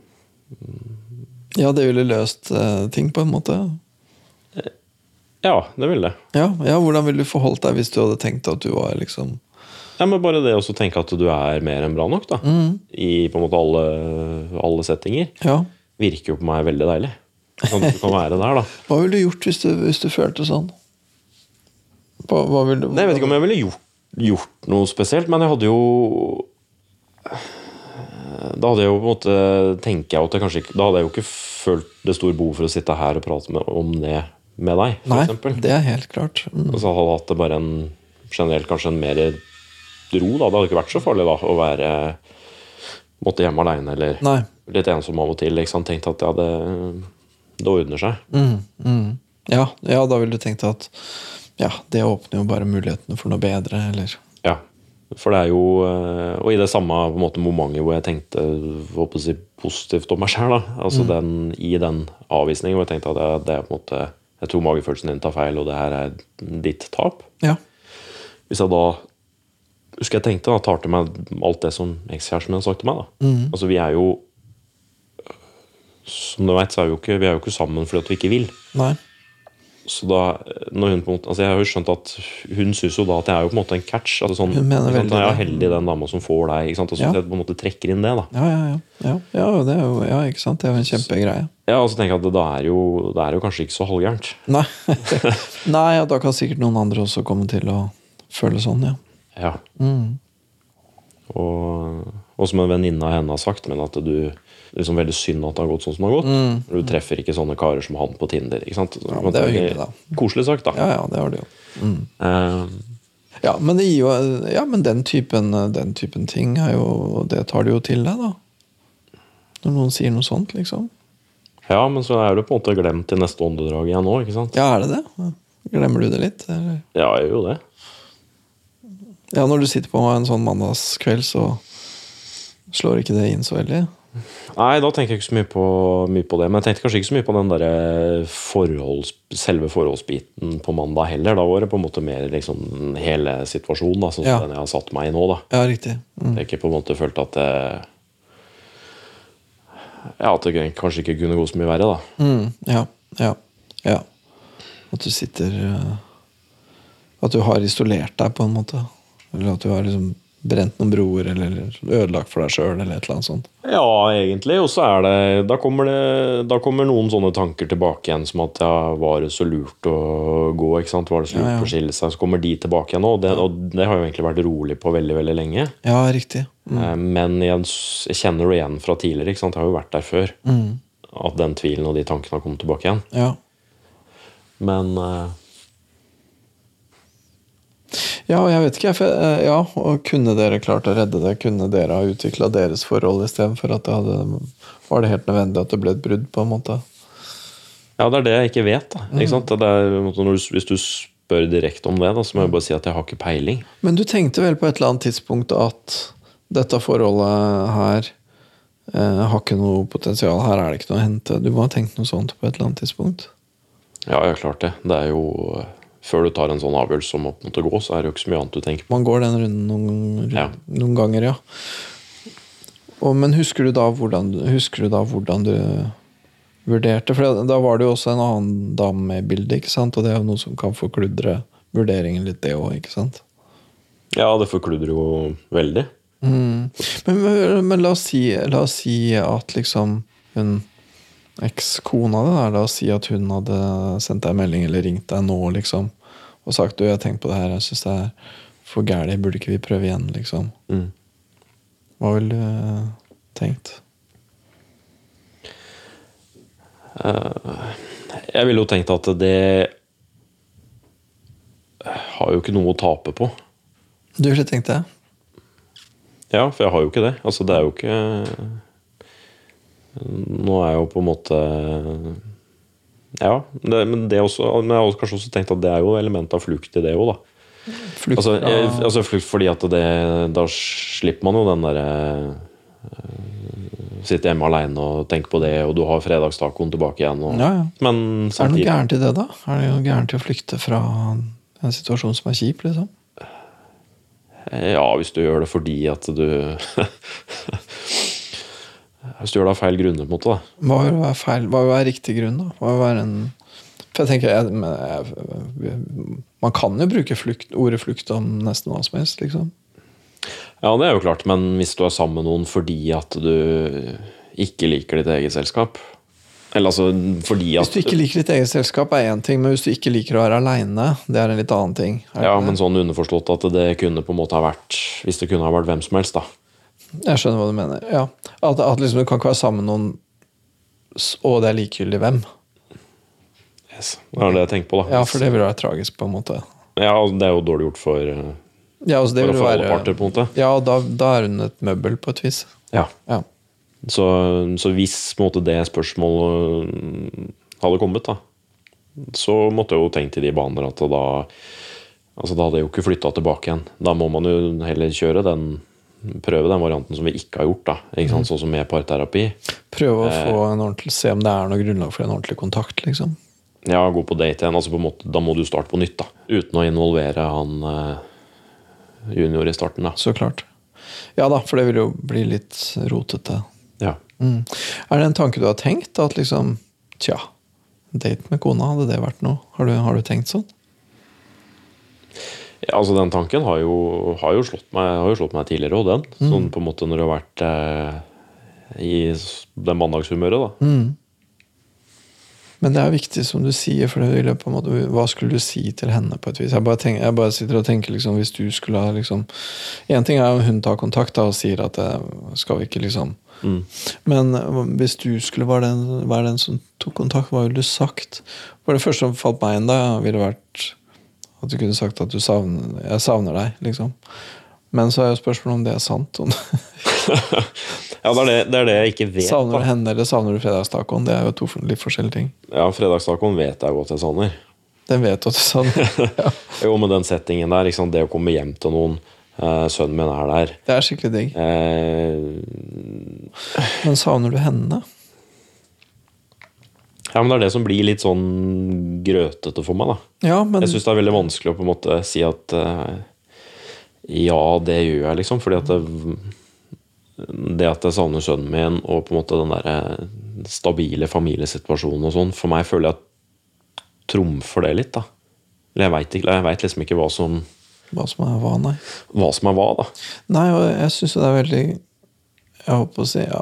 B: ja det ville løst eh, ting, på en måte.
C: Ja, det ville det.
B: Ja, ja, Hvordan ville du forholdt deg hvis du hadde tenkt at du var liksom
C: Ja, men bare det å så tenke at du er mer enn bra nok, da.
B: Mm.
C: I på en måte alle, alle settinger.
B: Ja.
C: Virker jo på meg veldig deilig. Sånn at du kan være der, da.
B: Hva ville du gjort hvis du, hvis du følte sånn? Hva, hva ville du
C: Nei, jeg vet ikke om jeg ville gjort, gjort noe spesielt, men jeg hadde jo Da hadde jeg jo på en måte tenker jeg at jeg kanskje ikke Da hadde jeg jo ikke følt det store behov for å sitte her og prate med, om det med deg, for
B: Nei,
C: eksempel.
B: det er helt klart. Mm.
C: Og så hadde jeg hatt det bare en generelt kanskje en mer ro, da. Det hadde ikke vært så farlig da å være måtte hjemme aleine eller
B: Nei.
C: litt ensom av og til. Ikke sant? Tenkte at ja, det, det ordner seg.
B: Mm, mm. Ja, ja, da ville du tenkt at ja, det åpner jo bare mulighetene for noe bedre, eller
C: Ja, for det er jo eh, Og i det samme på en måte, momentet hvor jeg tenkte håper å si, positivt om meg sjøl, altså den, i den avvisningen hvor jeg tenkte at jeg, det er på en måte jeg tror magefølelsen din tar feil, og det her er ditt tap.
B: Ja.
C: Hvis jeg da husker jeg tenkte da, tar til meg alt det som ekskjæresten min har sagt til meg. da. Altså Vi er jo Som du veit, så er vi jo ikke, vi er jo ikke sammen fordi at vi ikke vil.
B: Nei.
C: Så da, når hun på en måte, altså Jeg har jo skjønt at hun syns jo da at jeg er jo på en måte en catch. Altså sånn,
B: Hun mener
C: ikke sant,
B: veldig
C: Jeg er
B: det.
C: heldig den dama som får deg. Ikke sant? Og så
B: Ja.
C: jeg på en måte trekker inn det. da
B: Ja, ja, ja. Ja, ja, det er jo, ja ikke sant? Det er jo en kjempegreie.
C: Ja, og så tenker jeg at det, da er jo, det er jo kanskje ikke så halvgærent.
B: Nei. Nei, ja, da kan sikkert noen andre også komme til å føle sånn, ja.
C: Ja.
B: Mm.
C: Og, og som en venninne av henne har sagt, men at du liksom veldig synd at det har gått sånn som det har gått. Du treffer ikke sånne karer som han på Tinder. Ikke sant?
B: Mm. men det er jo hyggelig, da.
C: Koselig sagt, da.
B: Ja, ja, det var det jo. Mm.
C: Eh,
B: Ja, men, det gir jo, ja, men den, typen, den typen ting er jo Det tar du jo til deg, da. Når noen sier noe sånt, liksom.
C: ja, men så er du på en måte glemt i neste åndedrag igjen nå, ikke sant?
B: Ja, er det det? Glemmer du det litt? Eller?
C: Ja, jeg gjør jo det.
B: Ja, når du sitter på en sånn mandagskveld, så slår ikke det inn så veldig.
C: Nei, da tenker jeg ikke så mye på, mye på det. Men jeg tenkte kanskje ikke så mye på den der eh, forholds, selve forholdsbiten på mandag heller. Da var det på en måte mer liksom hele situasjonen, da, sånn som
B: Ja.
C: den jeg har satt meg i nå. da.
B: Ja, riktig. Mm.
C: At Jeg ikke på en måte følte at jeg, ja, at det kanskje ikke kunne gå så mye verre, da.
B: Mm, ja, ja, ja. At du sitter eh, At du har isolert deg, på en måte. Eller at du har liksom brent noen broer, eller, eller ødelagt for deg sjøl, eller et eller annet sånt.
C: Ja, egentlig. Og så er det da, kommer det da kommer noen sånne tanker tilbake igjen, som at ja, var det så lurt å gå? ikke sant? Var det så lurt
B: Ja, ja.
C: å skille seg? Så kommer de tilbake igjen nå. Og det, og det har jo egentlig vært rolig på veldig, veldig lenge.
B: Ja, riktig.
C: Eh, Men jeg, s- jeg kjenner det igjen fra tidligere. ikke sant? Jeg har jo vært der før. At den tvilen og de tankene har kommet tilbake igjen.
B: Ja.
C: Men eh,
B: Ja, og jeg vet ikke. jeg- for, eh, Ja, og Kunne dere klart å redde det? Kunne dere ha utvikla deres forhold istedenfor at det hadde Var det helt nødvendig at det ble et brudd, på en måte?
C: Ja, det er det jeg ikke vet. da, ikke sant? Det er, på en måte når du, hvis du spør direkte om det, da, så må jeg bare si at jeg har ikke peiling.
B: Men du tenkte vel på et eller annet tidspunkt at dette forholdet her eh, har ikke noe potensial, her er det ikke noe å hente. Du må ha tenkt noe sånt på et eller annet tidspunkt.
C: Ja, jeg har klart det. Det er jo eh, Før du tar en sånn avgjørelse om å på en måte gå, så er det jo ikke så mye annet du tenker på.
B: Man går den runden noen,
C: Ja.
B: noen ganger, ja. Og, men husker du, da hvordan, husker du da hvordan du vurderte? For da var det jo også en annen dame med i bildet, ikke sant? og det er jo noe som kan forkludre vurderingen litt, det òg, ikke sant?
C: Ja, det forkludrer jo veldig.
B: Mm. Men, men, men la, oss si, la oss si at liksom hun ekskona di, da, la oss si at hun hadde sendt deg en melding eller ringt deg nå, liksom, og sagt du, jeg har tenkt på det her, jeg syns det er for gærent, burde ikke vi prøve igjen, liksom?
C: Mm.
B: Hva ville du eh, tenkt?
C: Jeg ville jo tenkt at det eh, har jo ikke noe å tape på.
B: Du ville tenkt det?
C: Ja, for jeg har jo ikke det. Altså, det er jo ikke Nå er jeg jo på en måte Ja, det, men, det er også, men jeg har også kanskje også tenkt at det er jo element av flukt i det òg, da.
B: Flukt
C: Altså,
B: fra-
C: jeg, altså flukt fordi at det Da slipper man jo den derre Sitte hjemme aleine og tenke på det, og du har fredagstacoen tilbake igjen. Og,
B: Ja, ja.
C: Men
B: Er det noe
C: samtidig
B: gærent i det, da? Er det noe gærent i å flykte fra en situasjon som er kjip, liksom?
C: Ja, hvis du gjør det fordi at du Hvis du gjør det av feil grunner, på en måte. da.
B: Hva vil være feil? Hva vil være riktig grunn, da? Hva vil være en For jeg tenker jeg, men jeg, Man kan jo bruke flukt, ordet flukt om nesten hva som helst, liksom.
C: Ja, det er jo klart, men hvis du er sammen med noen fordi at du ikke liker ditt eget selskap Eller altså fordi
B: Hvis
C: at
B: du ikke liker ditt eget selskap, er én ting, men hvis du ikke liker å være aleine, det er en litt annen ting. Er det
C: Ja,
B: ikke
C: men
B: det?
C: sånn underforstått at det kunne på en måte ha vært Hvis det kunne ha vært hvem som helst, da.
B: Jeg skjønner hva du mener. Ja. At, at liksom du kan ikke være sammen med noen, s- og det er likegyldig hvem.
C: Yes. Det er det jeg tenker på, da.
B: Ja, for det vil være tragisk, på en måte.
C: Ja, og det er jo dårlig gjort for, eh,
B: Ja, altså, det
C: for,
B: vil
C: for alle
B: være-
C: parter, på en måte.
B: Ja, da, da er hun et møbel, på et vis.
C: Ja.
B: Ja.
C: Så, så hvis på en måte, det spørsmålet mm, hadde kommet, da, så måtte jeg jo tenkt i de baner at da Altså, da hadde jeg jo ikke flytta tilbake igjen. Da må man jo heller kjøre den prøve den varianten som vi ikke har gjort, da. Ikke sant? Sånn som med parterapi.
B: Prøve å få
C: Eh.
B: en ordentlig, se om det er noe grunnlag for en ordentlig kontakt, liksom.
C: Ja, gå på date igjen. Altså på en måte, da må du starte på nytt, da. Uten å involvere han eh, junior i starten, da.
B: Så klart. Ja da, for det vil jo bli litt rotete.
C: Ja.
B: Mm. Er det en tanke du har tenkt? At liksom Tja, date med kona, hadde det vært noe? Har du, har du tenkt sånn?
C: Ja, altså Den tanken har jo, har jo, slått, meg, har jo slått meg tidligere òg, den. Sånn på en måte når du har vært eh, i s- det mandagshumøret, da.
B: Mm. Men det er viktig, som du sier, for det vil jeg på en måte, hva skulle du si til henne? på et vis? Jeg bare, tenker, jeg bare sitter og tenker liksom, hvis du skulle ha liksom, En ting er om hun tar kontakt da, og sier at eh, skal vi ikke liksom
C: Mm.
B: Men eh, hvis du skulle være den, være den som tok kontakt, hva ville du sagt? For det første som falt meg inn da, ville vært at du kunne sagt at du savner, jeg savner deg. liksom. Men så er jo spørsmålet om det er sant. Om
C: Ja, det er det, det er det jeg ikke vet.
B: savner du
C: da.
B: henne eller savner du fredagstacoen? Det er jo to litt forskjellige ting.
C: Ja, Fredagstacoen vet jeg godt jeg savner.
B: Den vet du at du savner. Ja.
C: Jo, med den settingen der, ikke sant? det å komme hjem til noen eh, Sønnen min er der.
B: Det er skikkelig digg.
C: Eh,
B: Men savner du henne?
C: ja, men Det er det som blir litt sånn grøtete for meg, da.
B: Ja, men
C: Jeg syns det er veldig vanskelig å på en måte si at eh, ja, det gjør jeg, liksom. Fordi at det, det at jeg savner sønnen min, og på en måte den der eh, stabile familiesituasjonen og sånn, for meg føler jeg at trumfer det litt, da. Eller jeg veit ikke, jeg vet liksom ikke hva som,
B: hva som er hva, nei.
C: hva som er hva, da.
B: Nei, og jeg syns jo det er veldig Jeg holdt på å si ja,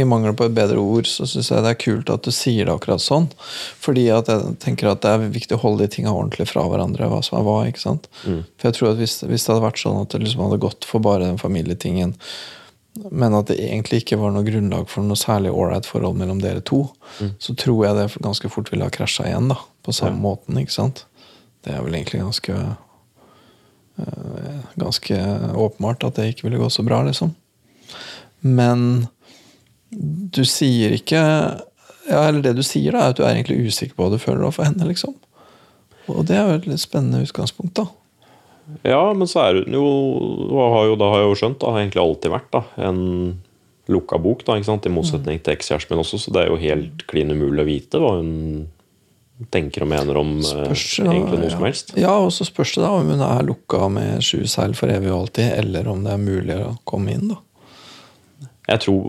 B: I mangel på et bedre ord, så syns jeg det er kult at du sier det akkurat sånn. Fordi at jeg tenker at det er viktig å holde de tinga ordentlig fra hverandre. Hva som er hva, ikke sant? For jeg tror at hvis, hvis det hadde vært sånn at det liksom hadde gått for bare den familietingen, men at det egentlig ikke var noe grunnlag for noe særlig ålreit forhold mellom dere to, så tror jeg det ganske fort ville ha krasja igjen, da. På samme måten, ikke sant? Det er vel egentlig ganske ganske åpenbart at det ikke ville gå så bra, liksom. Men du sier ikke ja, Eller det du sier, da, er at du er egentlig usikker på hva du føler overfor henne, liksom. Og det er jo et litt spennende utgangspunkt, da.
C: Ja, men så er hun jo, og har jo Da har jeg jo skjønt, da, har egentlig alltid vært da, en lukka bok, da, ikke sant? i motsetning
B: Mm.
C: til ekskjæresten min også, så det er jo helt klin umulig å vite hva hun tenker og mener om eh,
B: Spørs, da,
C: egentlig noe som helst.
B: Ja, ja og så spørs det da om hun er lukka med sju seil for evig og alltid, eller om det er mulig å komme inn, da.
C: Jeg tror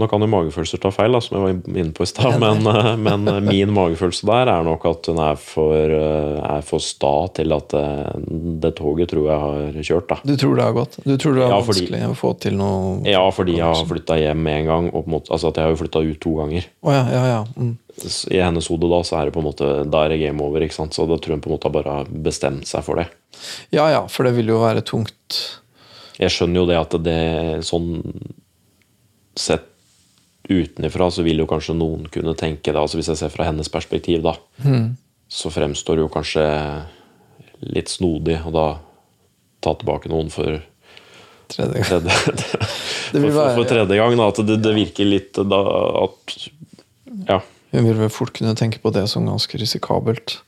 C: Nå kan jo magefølelser ta feil, da, som jeg var inne på i stad, men, eh, men min magefølelse der er nok at hun er for, eh, er for sta til at eh, det toget tror jeg har kjørt, da.
B: Du tror det har gått? Du tror det er
C: Ja, fordi-
B: vanskelig å få til noe Å
C: Ja, fordi jeg har flytta hjem én gang, og på en måte, altså at jeg har jo flytta ut to ganger.
B: ja, ja, ja. Mm.
C: S- I hennes hode da, så er det på en måte Da er det game over, ikke sant. Så da tror hun på en måte har bare bestemt seg for det.
B: ja ja, for det vil jo være tungt
C: Jeg skjønner jo det at det sånn sett utenfra så vil jo kanskje noen kunne tenke det, altså hvis jeg ser fra hennes perspektiv, da, så fremstår det jo kanskje litt snodig å da ta tilbake noen for
B: Tredje gang.
C: tredje,
B: Det vil
C: for, for,
B: være-
C: for tredje gang. Da, at det, det virker litt da at Ja.
B: Hun vil vel fort kunne tenke på det som ganske risikabelt.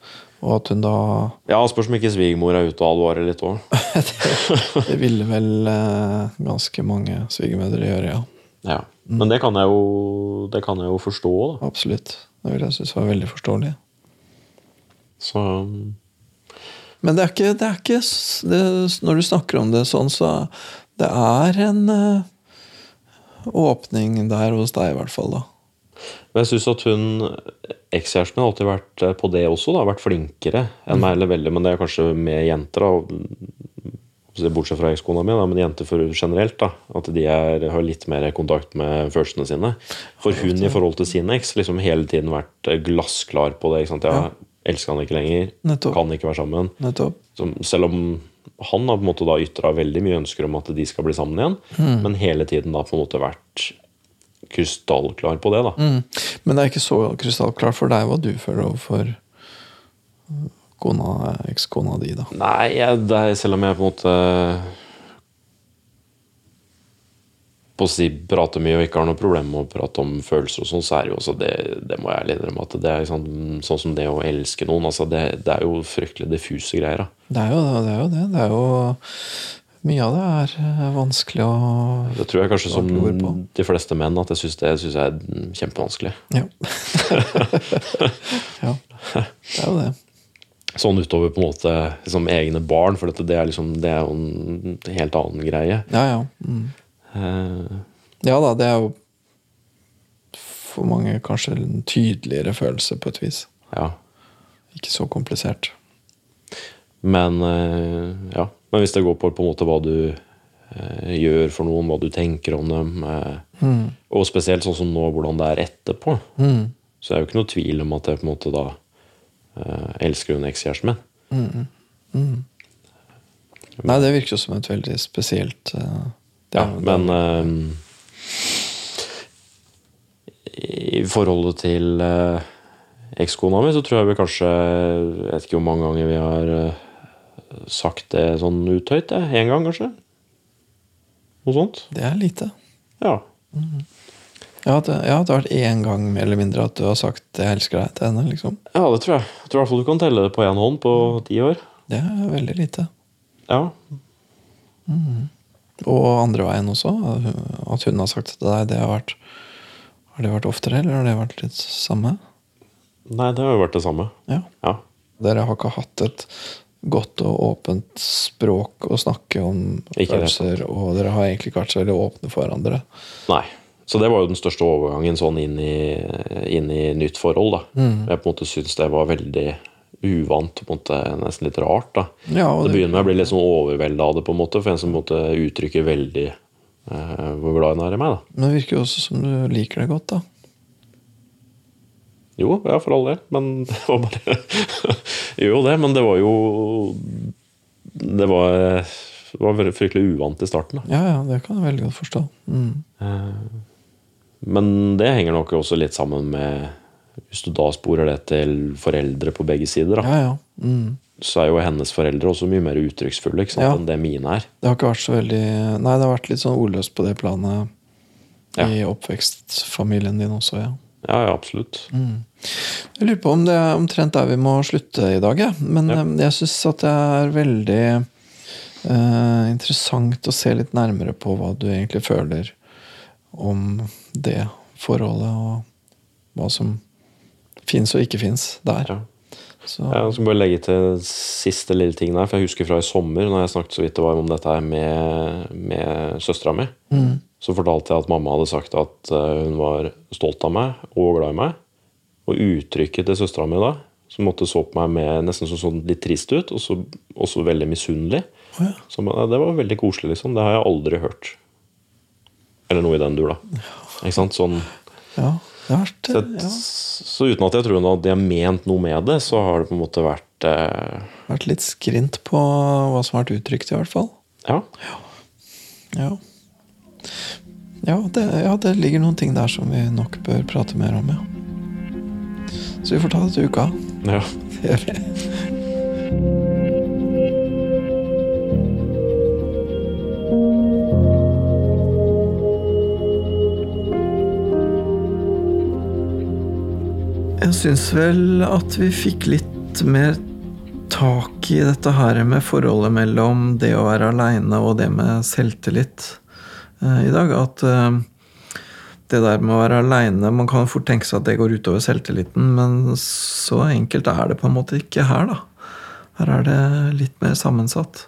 B: Og at hun da
C: Ja, Spørs om ikke svigermor er ute og advarer litt òg.
B: Det ville vel eh, ganske mange svigermødre gjøre, ja.
C: Ja. Men det kan jeg jo, det kan jeg jo forstå, da.
B: Absolutt. Det vil jeg synes var veldig forståelig.
C: Så um,
B: Men det er ikke, det er ikke s- det, Når du snakker om det sånn, så det er en eh, åpning der hos deg, i hvert fall. da.
C: Men jeg syns at hun ekskjæresten min har alltid vært eh, på det også, da. Vært flinkere enn meg, eller veldig, men det er kanskje med jenter, da. Så det er Bortsett fra ekskona mi, da, men jenter for generelt. da, At de er, har litt mer kontakt med følelsene sine. For hun i forhold til sin eks liksom hele tiden vært eh, glassklar på det. ikke sant, Jeg elsker han ikke lenger,
B: Nettopp.
C: kan ikke være sammen.
B: Nettopp.
C: som, selv om han har på en måte da ytra veldig mye ønsker om at de skal bli sammen igjen, men hele tiden da på en måte vært krystallklar på det. da.
B: Mm. Men det er ikke så krystallklart for deg hva du føler overfor eh, kona, ekskona di, da.
C: Nei, jeg, det er, selv om jeg på en måte på å si prater mye og ikke har noe problem med å prate om følelser, og sånn, så er det jo også det, det må jeg ærlig innrømme at det er sånn, sånn som det å elske noen. altså Det, det er jo fryktelig diffuse greier. da.
B: Det er jo det. Det er jo det. det er jo, mye av det er eh, vanskelig å
C: Det tror jeg kanskje som
B: Vanskelig ord på.
C: de fleste menn at jeg syns det synes jeg er kjempevanskelig.
B: ja. ja. Det er jo det.
C: sånn utover på en måte liksom, egne barn, for dette, det, er liksom, det er jo en helt annen greie.
B: Ja, ja. Mm.
C: Eh,
B: Ja da, det er jo for mange kanskje en tydeligere følelse på et vis.
C: ja.
B: Ikke så komplisert.
C: Men, eh, ja. Men hvis det går på, på en måte hva du eh, gjør for noen, hva du tenker om dem, eh, og spesielt sånn som nå, hvordan det er etterpå,
B: Mm.
C: så er det jo ikke noe tvil om at jeg på en måte da eh, elsker hun ekskjæresten min.
B: Nei, det virker jo som et veldig spesielt eh, det
C: Ja,
B: er jo-
C: men ehm, I forholdet til eh, ekskona mi, så tror jeg vi kanskje Jeg vet ikke hvor mange ganger vi har eh, sagt det sånn uthøyt. jeg. Én gang, kanskje? Noe sånt?
B: Det er lite.
C: Ja.
B: Ja, det, ja, det har vært én gang mer eller mindre at du har sagt 'jeg elsker deg' til henne. liksom.
C: ja, det tror jeg. Jeg tror i hvert fall du kan telle det på én hånd på ti år.
B: Det er veldig lite.
C: Ja.
B: Og andre veien også. At hun har sagt det til deg, det har vært Har det vært oftere, eller har det vært litt samme?
C: Nei, det har jo vært det samme.
B: Ja.
C: Ja.
B: Dere har ikke hatt et godt og åpent språk å snakke om
C: Ikke det.
B: følelser, og dere har egentlig ikke vært så veldig åpne for hverandre.
C: Nei. Så det var jo den største overgangen sånn inn i, inn i nytt forhold. da.
B: Mm.
C: Jeg på en måte syns det var veldig uvant, på en måte nesten litt rart. da.
B: Ja, og
C: det
B: det-
C: begynner med å bli litt sånn overvelda av det, på en måte, for en som på en måte uttrykker veldig eh, hvor glad hun er i meg. da.
B: Men det virker jo også som du liker det godt, da.
C: Jo, ja, for all del, men det var bare Jo, det, men det var jo Det var, det var veldig- fryktelig uvant i starten. da.
B: Ja, ja, det kan jeg veldig godt forstå. Mm.
C: Men det henger nok også litt sammen med Hvis du da sporer det til foreldre på begge sider, da.
B: Ja, ja. Mm.
C: så er jo hennes foreldre også mye mer uttrykksfulle ikke sant,
B: Ja.
C: enn det mine er.
B: Det har ikke vært så veldig Nei, det har vært litt sånn ordløst på det planet
C: Ja.
B: i oppvekstfamilien din også, ja.
C: Ja, ja, absolutt.
B: Jeg lurer på om det er omtrent der vi må slutte i dag, jeg. Men
C: Ja.
B: eh, jeg syns at det er veldig eh, interessant å se litt nærmere på hva du egentlig føler om det forholdet, og hva som fins og ikke fins der.
C: Ja.
B: Så,
C: Jeg skal bare legge til siste lille ting der, for jeg husker fra i sommer, når jeg snakket så vidt det var om dette her med, med søstera mi,
B: Mm.
C: så fortalte jeg at mamma hadde sagt at eh, hun var stolt av meg og glad i meg. Og uttrykket til søstera mi da, som måtte så på meg med nesten sånn, sånn litt trist ut, og så også veldig misunnelig.
B: Å ja.
C: Så ba- det var veldig koselig, liksom. Det har jeg aldri hørt. Eller noe i den dur, da. Ikke sant? Sånn
B: ja, det har vært
C: så,
B: ja.
C: så uten at jeg tror hun hadde ment noe med det, så har det på en måte vært eh,
B: vært litt skrint på hva som har vært uttrykt, i hvert fall.
C: Ja.
B: Ja. Ja det, ja, det ligger noen ting der som vi nok bør prate mer om, ja. Så vi får ta det til uka.
C: Ja.
B: Gjør vi. Jeg syns vel at vi fikk litt mer tak i dette her med forholdet mellom det å være aleine og det med selvtillit eh, i dag. At eh, det der med å være aleine Man kan fort tenke seg at det går utover selvtilliten, men så enkelt er det på en måte ikke her, da. Her er det litt mer sammensatt.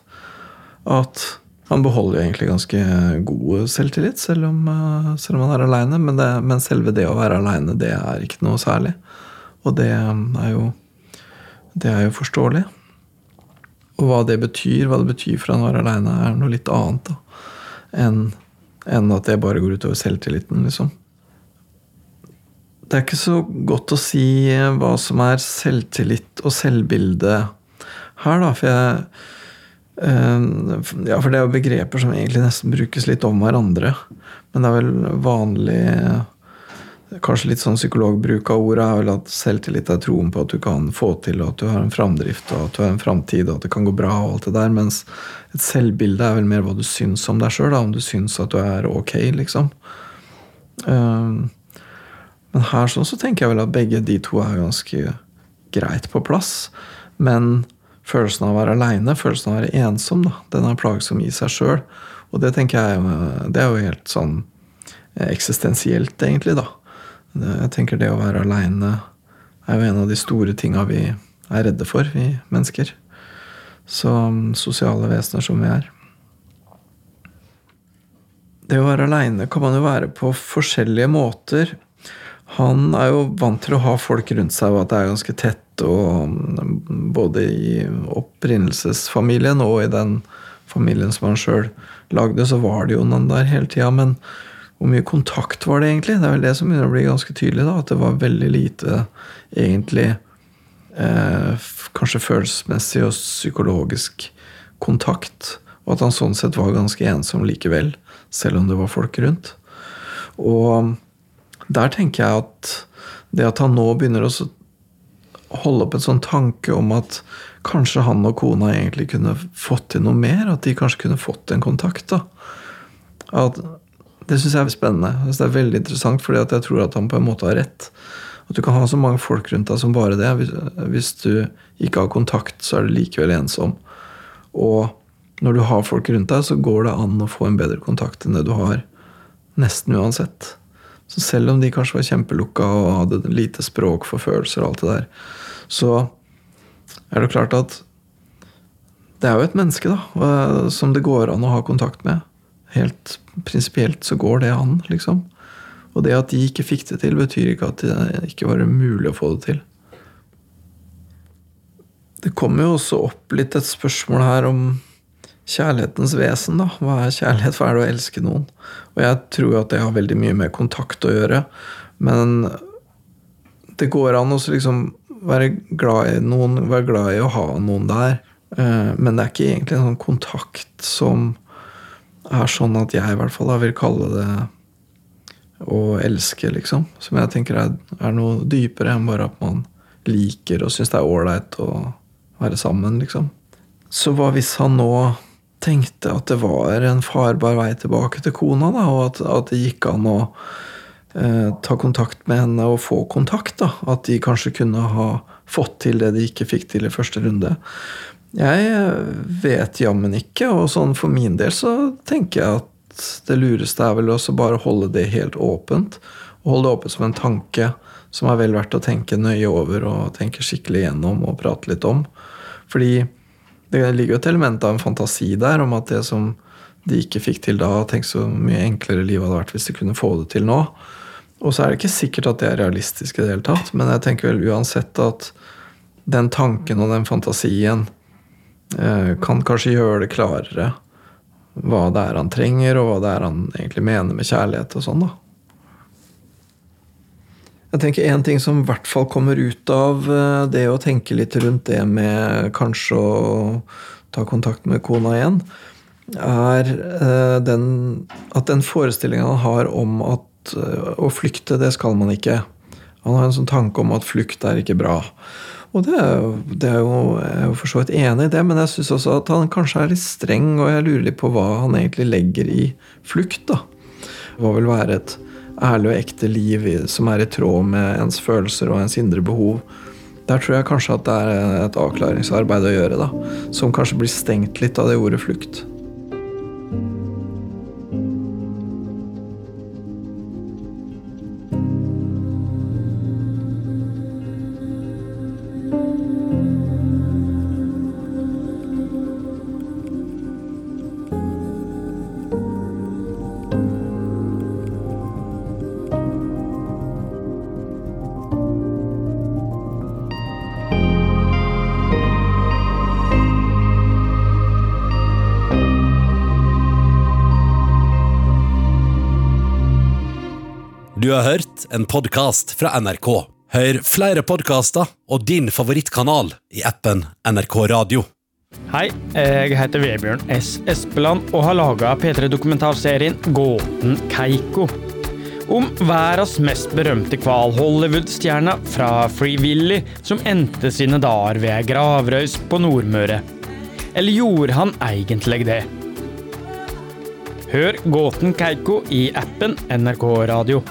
B: At han beholder jo egentlig ganske god selvtillit, selv om, eh, selv om han er aleine. Men, det- men selve det å være aleine, det er ikke noe særlig. Og det um, er jo Det er jo forståelig. Og hva det betyr, hva det betyr for han å være aleine, er noe litt annet da, enn enn at det bare går utover selvtilliten, liksom. Det er ikke så godt å si eh, hva som er selvtillit og selvbilde her, da, for jeg eh, f- ja, for det er jo begreper som egentlig nesten brukes litt om hverandre. Men det er vel vanlig Kanskje litt sånn psykologbruk av ordet er vel at selvtillit er troen på at du kan få til, og at du har en framdrift, og at du har en framtid, og at det kan gå bra, og alt det der. Mens et selvbilde er vel mer hva du syns om deg sjøl, om du syns at du er ok, liksom. Eh, men her sånn så tenker jeg vel at begge de to er ganske greit på plass. Men følelsen av å være aleine, følelsen av å være ensom, da, den er plagsom i seg sjøl. Og det tenker jeg eh, det er jo helt sånn eh, eksistensielt, egentlig, da. Det- Jeg tenker det å være aleine er jo en av de store tinga vi er redde for, vi mennesker. Som sosiale vesener som vi er. Det å være aleine kan man jo være på forskjellige måter. Han er jo vant til å ha folk rundt seg, og at det er ganske tett. Og mm, både i opprinnelsesfamilien og i den familien som han sjøl lagde, så var det jo noen der hele tida. Men hvor mye kontakt var det egentlig? Det er vel det som begynner å bli ganske tydelig, da, at det var veldig lite egentlig eh, f- kanskje følelsesmessig og psykologisk kontakt. Og at han sånn sett var ganske ensom likevel, selv om det var folk rundt. Og mm, der tenker jeg at det at han nå begynner å så- holde opp en sånn tanke om at kanskje han og kona egentlig kunne fått til noe mer, at de kanskje kunne fått en kontakt, da. At det syns jeg er spennende. Jeg synes det er veldig interessant, fordi at jeg tror at han på en måte har rett. At du kan ha så mange folk rundt deg som bare det. Hvis, hvis du ikke har kontakt, så er du likevel ensom. Og når du har folk rundt deg, så går det an å få en bedre kontakt enn det du har. Nesten uansett. Så selv om de kanskje var kjempelukka og hadde lite språk for følelser og alt det der, så er det jo klart at det er jo et menneske, da, og, eh, som det går an å ha kontakt med. Helt prinsipielt så går det an, liksom. Og det at de ikke fikk det til, betyr ikke at det ikke var mulig å få det til. Det kommer jo også opp litt et spørsmål her om kjærlighetens vesen, da. Hva er kjærlighet? Hva er det å elske noen? Og jeg tror jo at det har veldig mye med kontakt å gjøre, men det går an å så liksom være glad i noen, være glad i å ha noen der. Eh, Men det er ikke egentlig en sånn kontakt som er sånn at jeg i hvert fall da vil kalle det å elske, liksom. Som jeg tenker er, er noe dypere enn bare at man liker og syns det er ålreit å være sammen, liksom. Så hva hvis han nå tenkte at det var en farbar vei tilbake til kona, da, og at, at det gikk an å eh, ta kontakt med henne og få kontakt. da, At de kanskje kunne ha fått til det de ikke fikk til i første runde. Jeg eh, vet jammen ikke, og sånn for min del så tenker jeg at det lureste er vel også bare å holde det helt åpent. og Holde det åpent som en tanke som er vel verdt å tenke nøye over og tenke skikkelig gjennom og prate litt om. Fordi det ligger jo et element av en fantasi der om at det som de ikke fikk til da, tenk så mye enklere livet hadde vært hvis de kunne få det til nå. Og så er det ikke sikkert at det er realistisk i det hele tatt, men jeg tenker vel uansett at den tanken og den fantasien eh, kan kanskje gjøre det klarere hva det er han trenger, og hva det er han egentlig mener med kjærlighet og sånn, da. Jeg tenker En ting som i hvert fall kommer ut av eh, det å tenke litt rundt det med kanskje å ta kontakt med kona igjen, er eh, den at den forestillinga han har om at eh, å flykte, det skal man ikke. Han har en sånn tanke om at flukt er ikke bra. Og det er, jo- det er jo, jeg er jo for så vidt enig i det, men jeg syns også at han kanskje er litt streng, og jeg lurer litt på hva han egentlig legger i flukt. da. Hva vil være et ærlig og ekte liv i- som er i tråd med ens følelser og ens indre behov? Der tror jeg kanskje at det er et avklaringsarbeid å gjøre, da. Som kanskje blir stengt litt av det ordet flukt.
A: Du har hørt en podkast fra NRK. Hør flere podkaster og din favorittkanal i appen NRK Radio.
D: Hei, jeg heter Vebjørn S. Espeland og har laga P3-dokumentarserien Gåten Keiko. Om verdens mest berømte hval, Hollywood-stjerna fra Free Willy, som endte sine dager ved ei gravrøys på Nordmøre. Eller gjorde han egentlig det? Hør Gåten Keiko i appen NRK Radio.